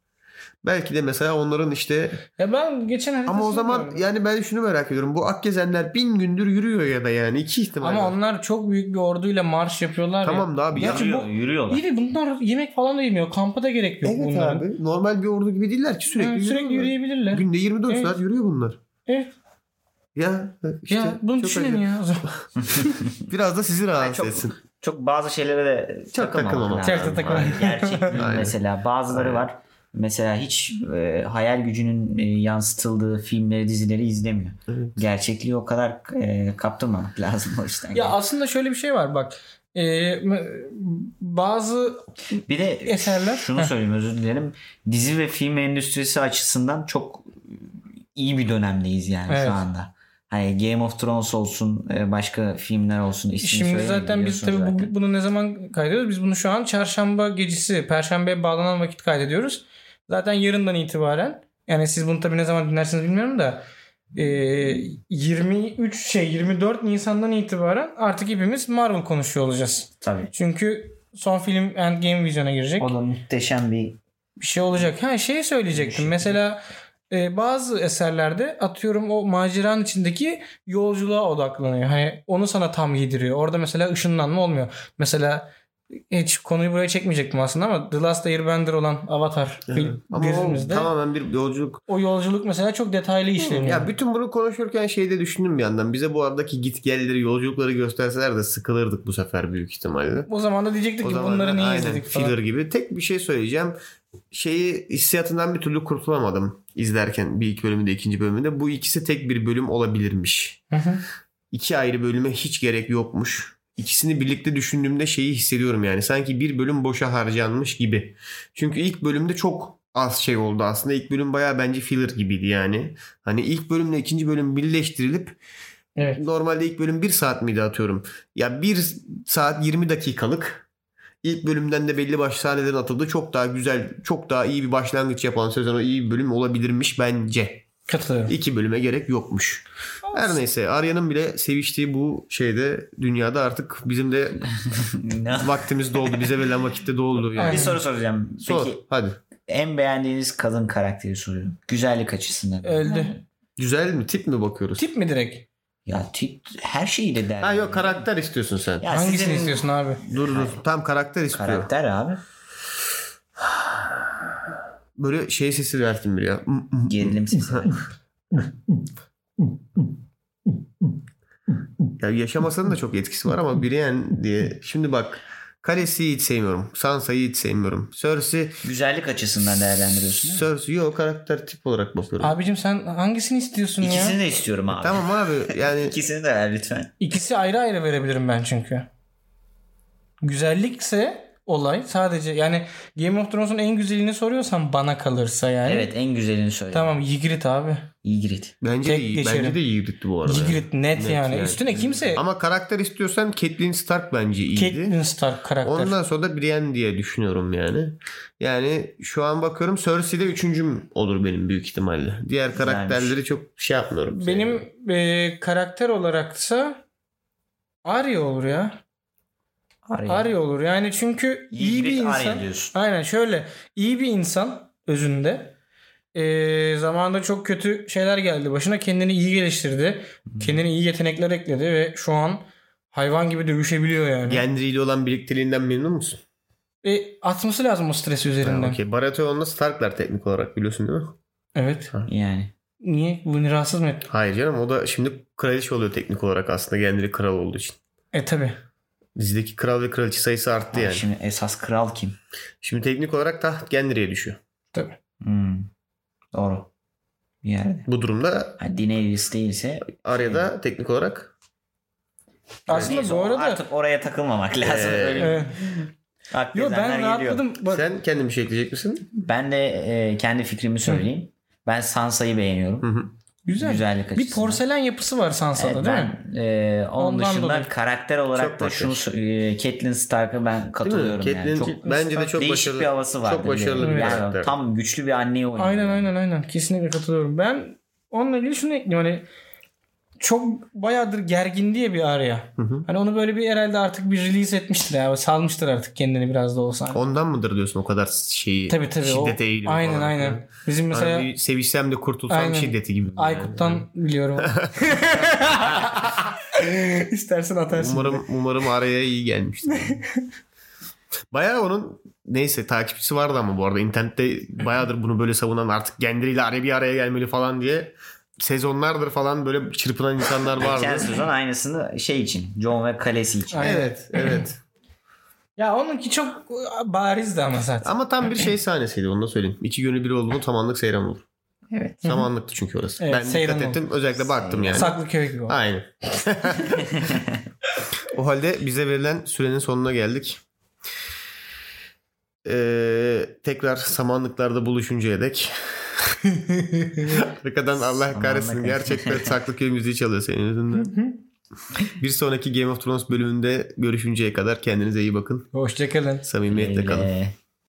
Speaker 2: Belki de mesela onların işte
Speaker 3: Ya ben şey geçen haritasını
Speaker 2: ama o zaman
Speaker 3: gördüm.
Speaker 2: yani ben şunu merak ediyorum. Bu Akgezenler bin gündür yürüyor ya da yani iki ihtimal.
Speaker 3: ama
Speaker 2: var.
Speaker 3: onlar çok büyük bir orduyla marş yapıyorlar ya.
Speaker 2: Tamam da abi
Speaker 3: Gerçi
Speaker 4: Yürüyor-
Speaker 3: bu-
Speaker 4: yürüyorlar.
Speaker 3: İyi de bunlar yemek falan da yemiyor. Kampa da gerek yok
Speaker 2: Evet
Speaker 3: bunların.
Speaker 2: abi. Normal bir ordu gibi değiller ki sürekli
Speaker 3: Sürekli, sürekli
Speaker 2: yürüyorlar.
Speaker 3: yürüyebilirler.
Speaker 2: Günde 24
Speaker 3: Evet.
Speaker 2: saat yürüyor bunlar.
Speaker 3: Evet.
Speaker 2: Ya işte
Speaker 3: ya bunu
Speaker 2: çok
Speaker 3: düşünün
Speaker 2: acayip.
Speaker 3: ya.
Speaker 2: Biraz da sizi rahatsız
Speaker 4: çok-
Speaker 2: etsin.
Speaker 4: Çok bazı şeylere de
Speaker 2: Çok
Speaker 4: takılmamak
Speaker 2: takılmamak.
Speaker 4: lazım.
Speaker 3: Çok takılmamak.
Speaker 4: Gerçek değil
Speaker 2: Aynen.
Speaker 4: mesela. Bazıları
Speaker 2: Aynen.
Speaker 4: var. mesela hiç e, hayal gücünün e, yansıtıldığı filmleri, dizileri izlemiyor. Gerçekliği o kadar e, kaptırmamak lazım o yüzden.
Speaker 3: Ya aslında şöyle bir şey var bak. Ee, m- bazı
Speaker 4: Bir de
Speaker 3: Eserler.
Speaker 4: şunu
Speaker 3: Heh.
Speaker 4: söyleyeyim özür dilerim. Dizi ve film endüstrisi açısından çok iyi bir dönemdeyiz yani
Speaker 3: Evet.
Speaker 4: şu anda. Hani Game of Thrones olsun, e, başka filmler olsun. ismini
Speaker 3: şimdi
Speaker 4: söylemeyeyim
Speaker 3: zaten biz tabii
Speaker 4: biliyorsunuz
Speaker 3: bu-
Speaker 4: zaten.
Speaker 3: bunu ne zaman kaydediyoruz? Biz bunu şu an çarşamba gecesi, perşembeye bağlanan vakit kaydediyoruz. Zaten yarından itibaren yani siz bunu tabii ne zaman dinlersiniz bilmiyorum da e, 23 şey 24 Nisan'dan itibaren artık hepimiz Marvel konuşuyor olacağız.
Speaker 4: Tabii.
Speaker 3: Çünkü son film Endgame vizyona girecek.
Speaker 4: O da muhteşem bir
Speaker 3: bir şey olacak. Ha şey söyleyecektim. Mesela e, bazı eserlerde atıyorum o maceranın içindeki yolculuğa odaklanıyor. Hani onu sana tam yediriyor. Orada mesela ışınlanma olmuyor. Mesela hiç konuyu buraya çekmeyecektim aslında ama The Last Airbender olan Avatar film
Speaker 2: Ama o
Speaker 3: dizimizde
Speaker 2: tamamen bir yolculuk.
Speaker 3: o yolculuk mesela çok detaylı işleniyor.
Speaker 2: Ya bütün bunu konuşurken şeyde düşündüm bir yandan. Bize bu aradaki git gelleri, yolculukları gösterseler de sıkılırdık bu sefer büyük ihtimalle.
Speaker 3: o zaman da diyecektik
Speaker 2: O
Speaker 3: ki
Speaker 2: zaman
Speaker 3: bunları niye
Speaker 2: aynen,
Speaker 3: izledik falan.
Speaker 2: filler gibi. Tek bir şey söyleyeceğim. Şeyi hissiyatından bir türlü kurtulamadım izlerken bir ilk bölümünde ikinci bölümünde. Bu ikisi tek bir bölüm olabilirmiş.
Speaker 3: Hı hı.
Speaker 2: İki ayrı bölüme hiç gerek yokmuş. İkisini birlikte düşündüğümde şeyi hissediyorum yani. Sanki bir bölüm boşa harcanmış gibi. Çünkü ilk bölümde çok az şey oldu aslında. İlk bölüm bayağı bence filler gibiydi yani. Hani ilk bölümle ikinci bölüm birleştirilip
Speaker 3: Evet.
Speaker 2: normalde ilk bölüm bir saat miydi atıyorum. Ya bir saat 20 dakikalık ilk bölümden de belli başlı sahnelerin atıldığı çok daha güzel, çok daha iyi bir başlangıç yapan sezona iyi bir bölüm olabilirmiş bence.
Speaker 3: Katılıyorum.
Speaker 2: İki bölüme gerek yokmuş. Her neyse Arya'nın bile seviştiği bu şeyde dünyada artık bizim de
Speaker 4: Ne-
Speaker 2: vaktimiz doldu. Bize verilen vakitte doldu.
Speaker 4: bir
Speaker 2: Yani.
Speaker 3: Aynen.
Speaker 4: soru soracağım.
Speaker 2: Sor
Speaker 4: Peki
Speaker 2: hadi.
Speaker 4: en beğendiğiniz kadın karakteri soruyorum. Güzellik açısından.
Speaker 3: Öldü.
Speaker 2: Güzel mi? Tip mi bakıyoruz?
Speaker 3: Tip mi direkt?
Speaker 4: Ya tip her şeyi de der.
Speaker 2: Ha yok karakter istiyorsun sen.
Speaker 4: Ya
Speaker 3: Hangisini
Speaker 4: sizin-
Speaker 3: istiyorsun abi?
Speaker 2: Dur dur. Tam karakter istiyor.
Speaker 4: Karakter abi.
Speaker 2: Böyle şey sesi verdim bir ya. Mm, mm.
Speaker 4: Gerilim sesi.
Speaker 2: ya yaşamasının da çok etkisi var ama Brienne diye. Şimdi bak Kalesi'yi hiç sevmiyorum. Sansa'yı hiç sevmiyorum. Cersei,
Speaker 4: Güzellik açısından değerlendiriyorsun değil mi?
Speaker 2: Cersei yok karakter tip olarak bakıyorum.
Speaker 3: Abicim sen hangisini istiyorsun ya?
Speaker 4: İkisini de istiyorum abi.
Speaker 2: Tamam abi yani
Speaker 4: İkisini de ver lütfen.
Speaker 3: İkisi ayrı ayrı verebilirim ben çünkü. Güzellikse olay sadece yani Game of Thrones'un en güzelini soruyorsan bana kalırsa yani.
Speaker 4: Evet en güzelini söyle.
Speaker 3: Tamam Ygritte abi.
Speaker 4: Ygritte.
Speaker 2: bence
Speaker 3: Tek
Speaker 2: iyi.
Speaker 3: geçerim.
Speaker 2: Bence de iyi yürüttü bu arada.
Speaker 3: Ygritte net,
Speaker 2: Net
Speaker 3: yani.
Speaker 2: yani.
Speaker 3: Üstüne kimse
Speaker 2: Ama karakter istiyorsan Catelyn Stark bence iyiydi.
Speaker 3: Catelyn Stark karakter.
Speaker 2: Ondan sonra da Brienne diye düşünüyorum yani. Yani şu an bakıyorum Cersei de üçüncüm olur benim büyük ihtimalle. Diğer karakterleri çok şey yapmıyorum.
Speaker 3: Benim e, karakter olaraksa Arya olur ya.
Speaker 4: Arya.
Speaker 3: Arya olur yani çünkü iyi bir
Speaker 4: Ygritte Arya
Speaker 3: insan.
Speaker 4: diyorsun.
Speaker 3: Aynen şöyle iyi bir insan özünde. Ee, zamanında çok kötü şeyler geldi başına. Kendini iyi geliştirdi. Kendine iyi yetenekler ekledi ve şu an hayvan gibi dövüşebiliyor yani.
Speaker 2: Gendry ile olan birlikteliğinden memnun musun?
Speaker 3: E, atması lazım o stresi
Speaker 2: Ha,
Speaker 3: üzerinden.
Speaker 2: Okey. Baratheon'la Starklar teknik olarak biliyorsun değil mi?
Speaker 3: Evet.
Speaker 4: Yani.
Speaker 3: Niye? Bunu rahatsız mı etti?
Speaker 2: Hayır canım o da şimdi kraliçe oluyor teknik olarak aslında Gendry kral olduğu için.
Speaker 3: E tabi.
Speaker 2: Dizideki kral ve kraliçe sayısı arttı
Speaker 4: Abi
Speaker 2: yani. Şimdi...
Speaker 4: Şimdi esas kral kim?
Speaker 2: teknik olarak taht Gendry'e düşüyor.
Speaker 4: Hmm. Doğru. Bir yerde.
Speaker 2: Bu durumda
Speaker 4: Yani Daenerys değilse
Speaker 2: Arya da teknik olarak
Speaker 3: Aslında
Speaker 4: Neyse,
Speaker 3: bu arada
Speaker 4: artık oraya takılmamak lazım.
Speaker 2: Ee,
Speaker 4: Öyle
Speaker 3: e,
Speaker 4: aklı
Speaker 3: yo,
Speaker 4: edenler
Speaker 3: ben rahatladım. Bak,
Speaker 2: sen kendin bir şey ekleyecek misin?
Speaker 4: Ben de e, kendi fikrimi söyleyeyim. Ben Sansa'yı beğeniyorum.
Speaker 2: Hı hı.
Speaker 3: güzel.
Speaker 4: Güzellik
Speaker 3: Bir
Speaker 4: açısından.
Speaker 3: porselen yapısı var Sansa'da
Speaker 4: Evet,
Speaker 3: değil mi?
Speaker 4: ben e, onun
Speaker 3: Ondan
Speaker 4: dışında
Speaker 3: dolayı.
Speaker 4: karakter olarak
Speaker 2: Çok
Speaker 4: da
Speaker 2: bakış.
Speaker 4: şunu sö- e, Catelyn Stark'a ben katılıyorum
Speaker 2: Değil mi?
Speaker 4: yani.
Speaker 2: Catelyn
Speaker 4: Çok
Speaker 2: bence de çok
Speaker 4: değişik
Speaker 2: başarılı.
Speaker 4: bir havası var.
Speaker 2: Çok başarılı bir
Speaker 3: Evet.
Speaker 2: karakter.
Speaker 4: tam güçlü bir anneyi oynuyor.
Speaker 3: Aynen
Speaker 4: yani.
Speaker 3: aynen aynen. Kesinlikle katılıyorum. Ben onunla ilgili şunu ekleyeyim. Hani çok bayağıdır gergin diye bir araya.
Speaker 2: hı.
Speaker 3: Hani onu böyle bir herhalde artık bir release etmiştir ya. Salmıştır artık kendini biraz da olsa.
Speaker 2: Ondan mıdır diyorsun o kadar şeyi
Speaker 3: tabii tabii. o-
Speaker 2: şiddete eğiliyor
Speaker 3: Aynen
Speaker 2: falan.
Speaker 3: aynen. Bizim
Speaker 2: Hani
Speaker 3: mesela
Speaker 2: bir sevişsem de kurtulsam
Speaker 3: Aynen.
Speaker 2: şiddeti gibi. yani.
Speaker 3: Aykut'tan biliyorum. İstersen atarsın.
Speaker 2: Umarım umarım araya iyi gelmiştir. Bayağı onun neyse takipçisi vardı ama bu arada internette bayağıdır bunu böyle savunan artık kendileriyle araya bir araya gelmeli falan diye sezonlardır falan böyle çırpınan insanlar vardı.
Speaker 4: Geçen sezon aynısını şey için. John ve Kalesi için.
Speaker 3: Aynen.
Speaker 2: evet evet.
Speaker 3: Ya onunki çok barizdi ama zaten.
Speaker 2: Ama tam bir şey sahnesiydi onu da söyleyeyim. İki günü bir oldu mu tamanlık seyran olur.
Speaker 4: Evet.
Speaker 2: Samanlıktı çünkü orası.
Speaker 3: Evet,
Speaker 2: ben
Speaker 3: seyran
Speaker 2: dikkat ettim. Özellikle baktım yani.
Speaker 3: Saklı köy gibi. o.
Speaker 2: Aynen. o halde bize verilen sürenin sonuna geldik. Ee, tekrar samanlıklarda buluşuncaya dek. Arkadan Allah
Speaker 4: Samanlık.
Speaker 2: kahretsin gerçekten Saklıköy müziği çalıyor senin yüzünden. Bir sonraki Game of Thrones bölümünde görüşünceye kadar kendinize iyi bakın.
Speaker 3: Hoşçakalın.
Speaker 2: Samimiyetle kalın.
Speaker 4: Öyle.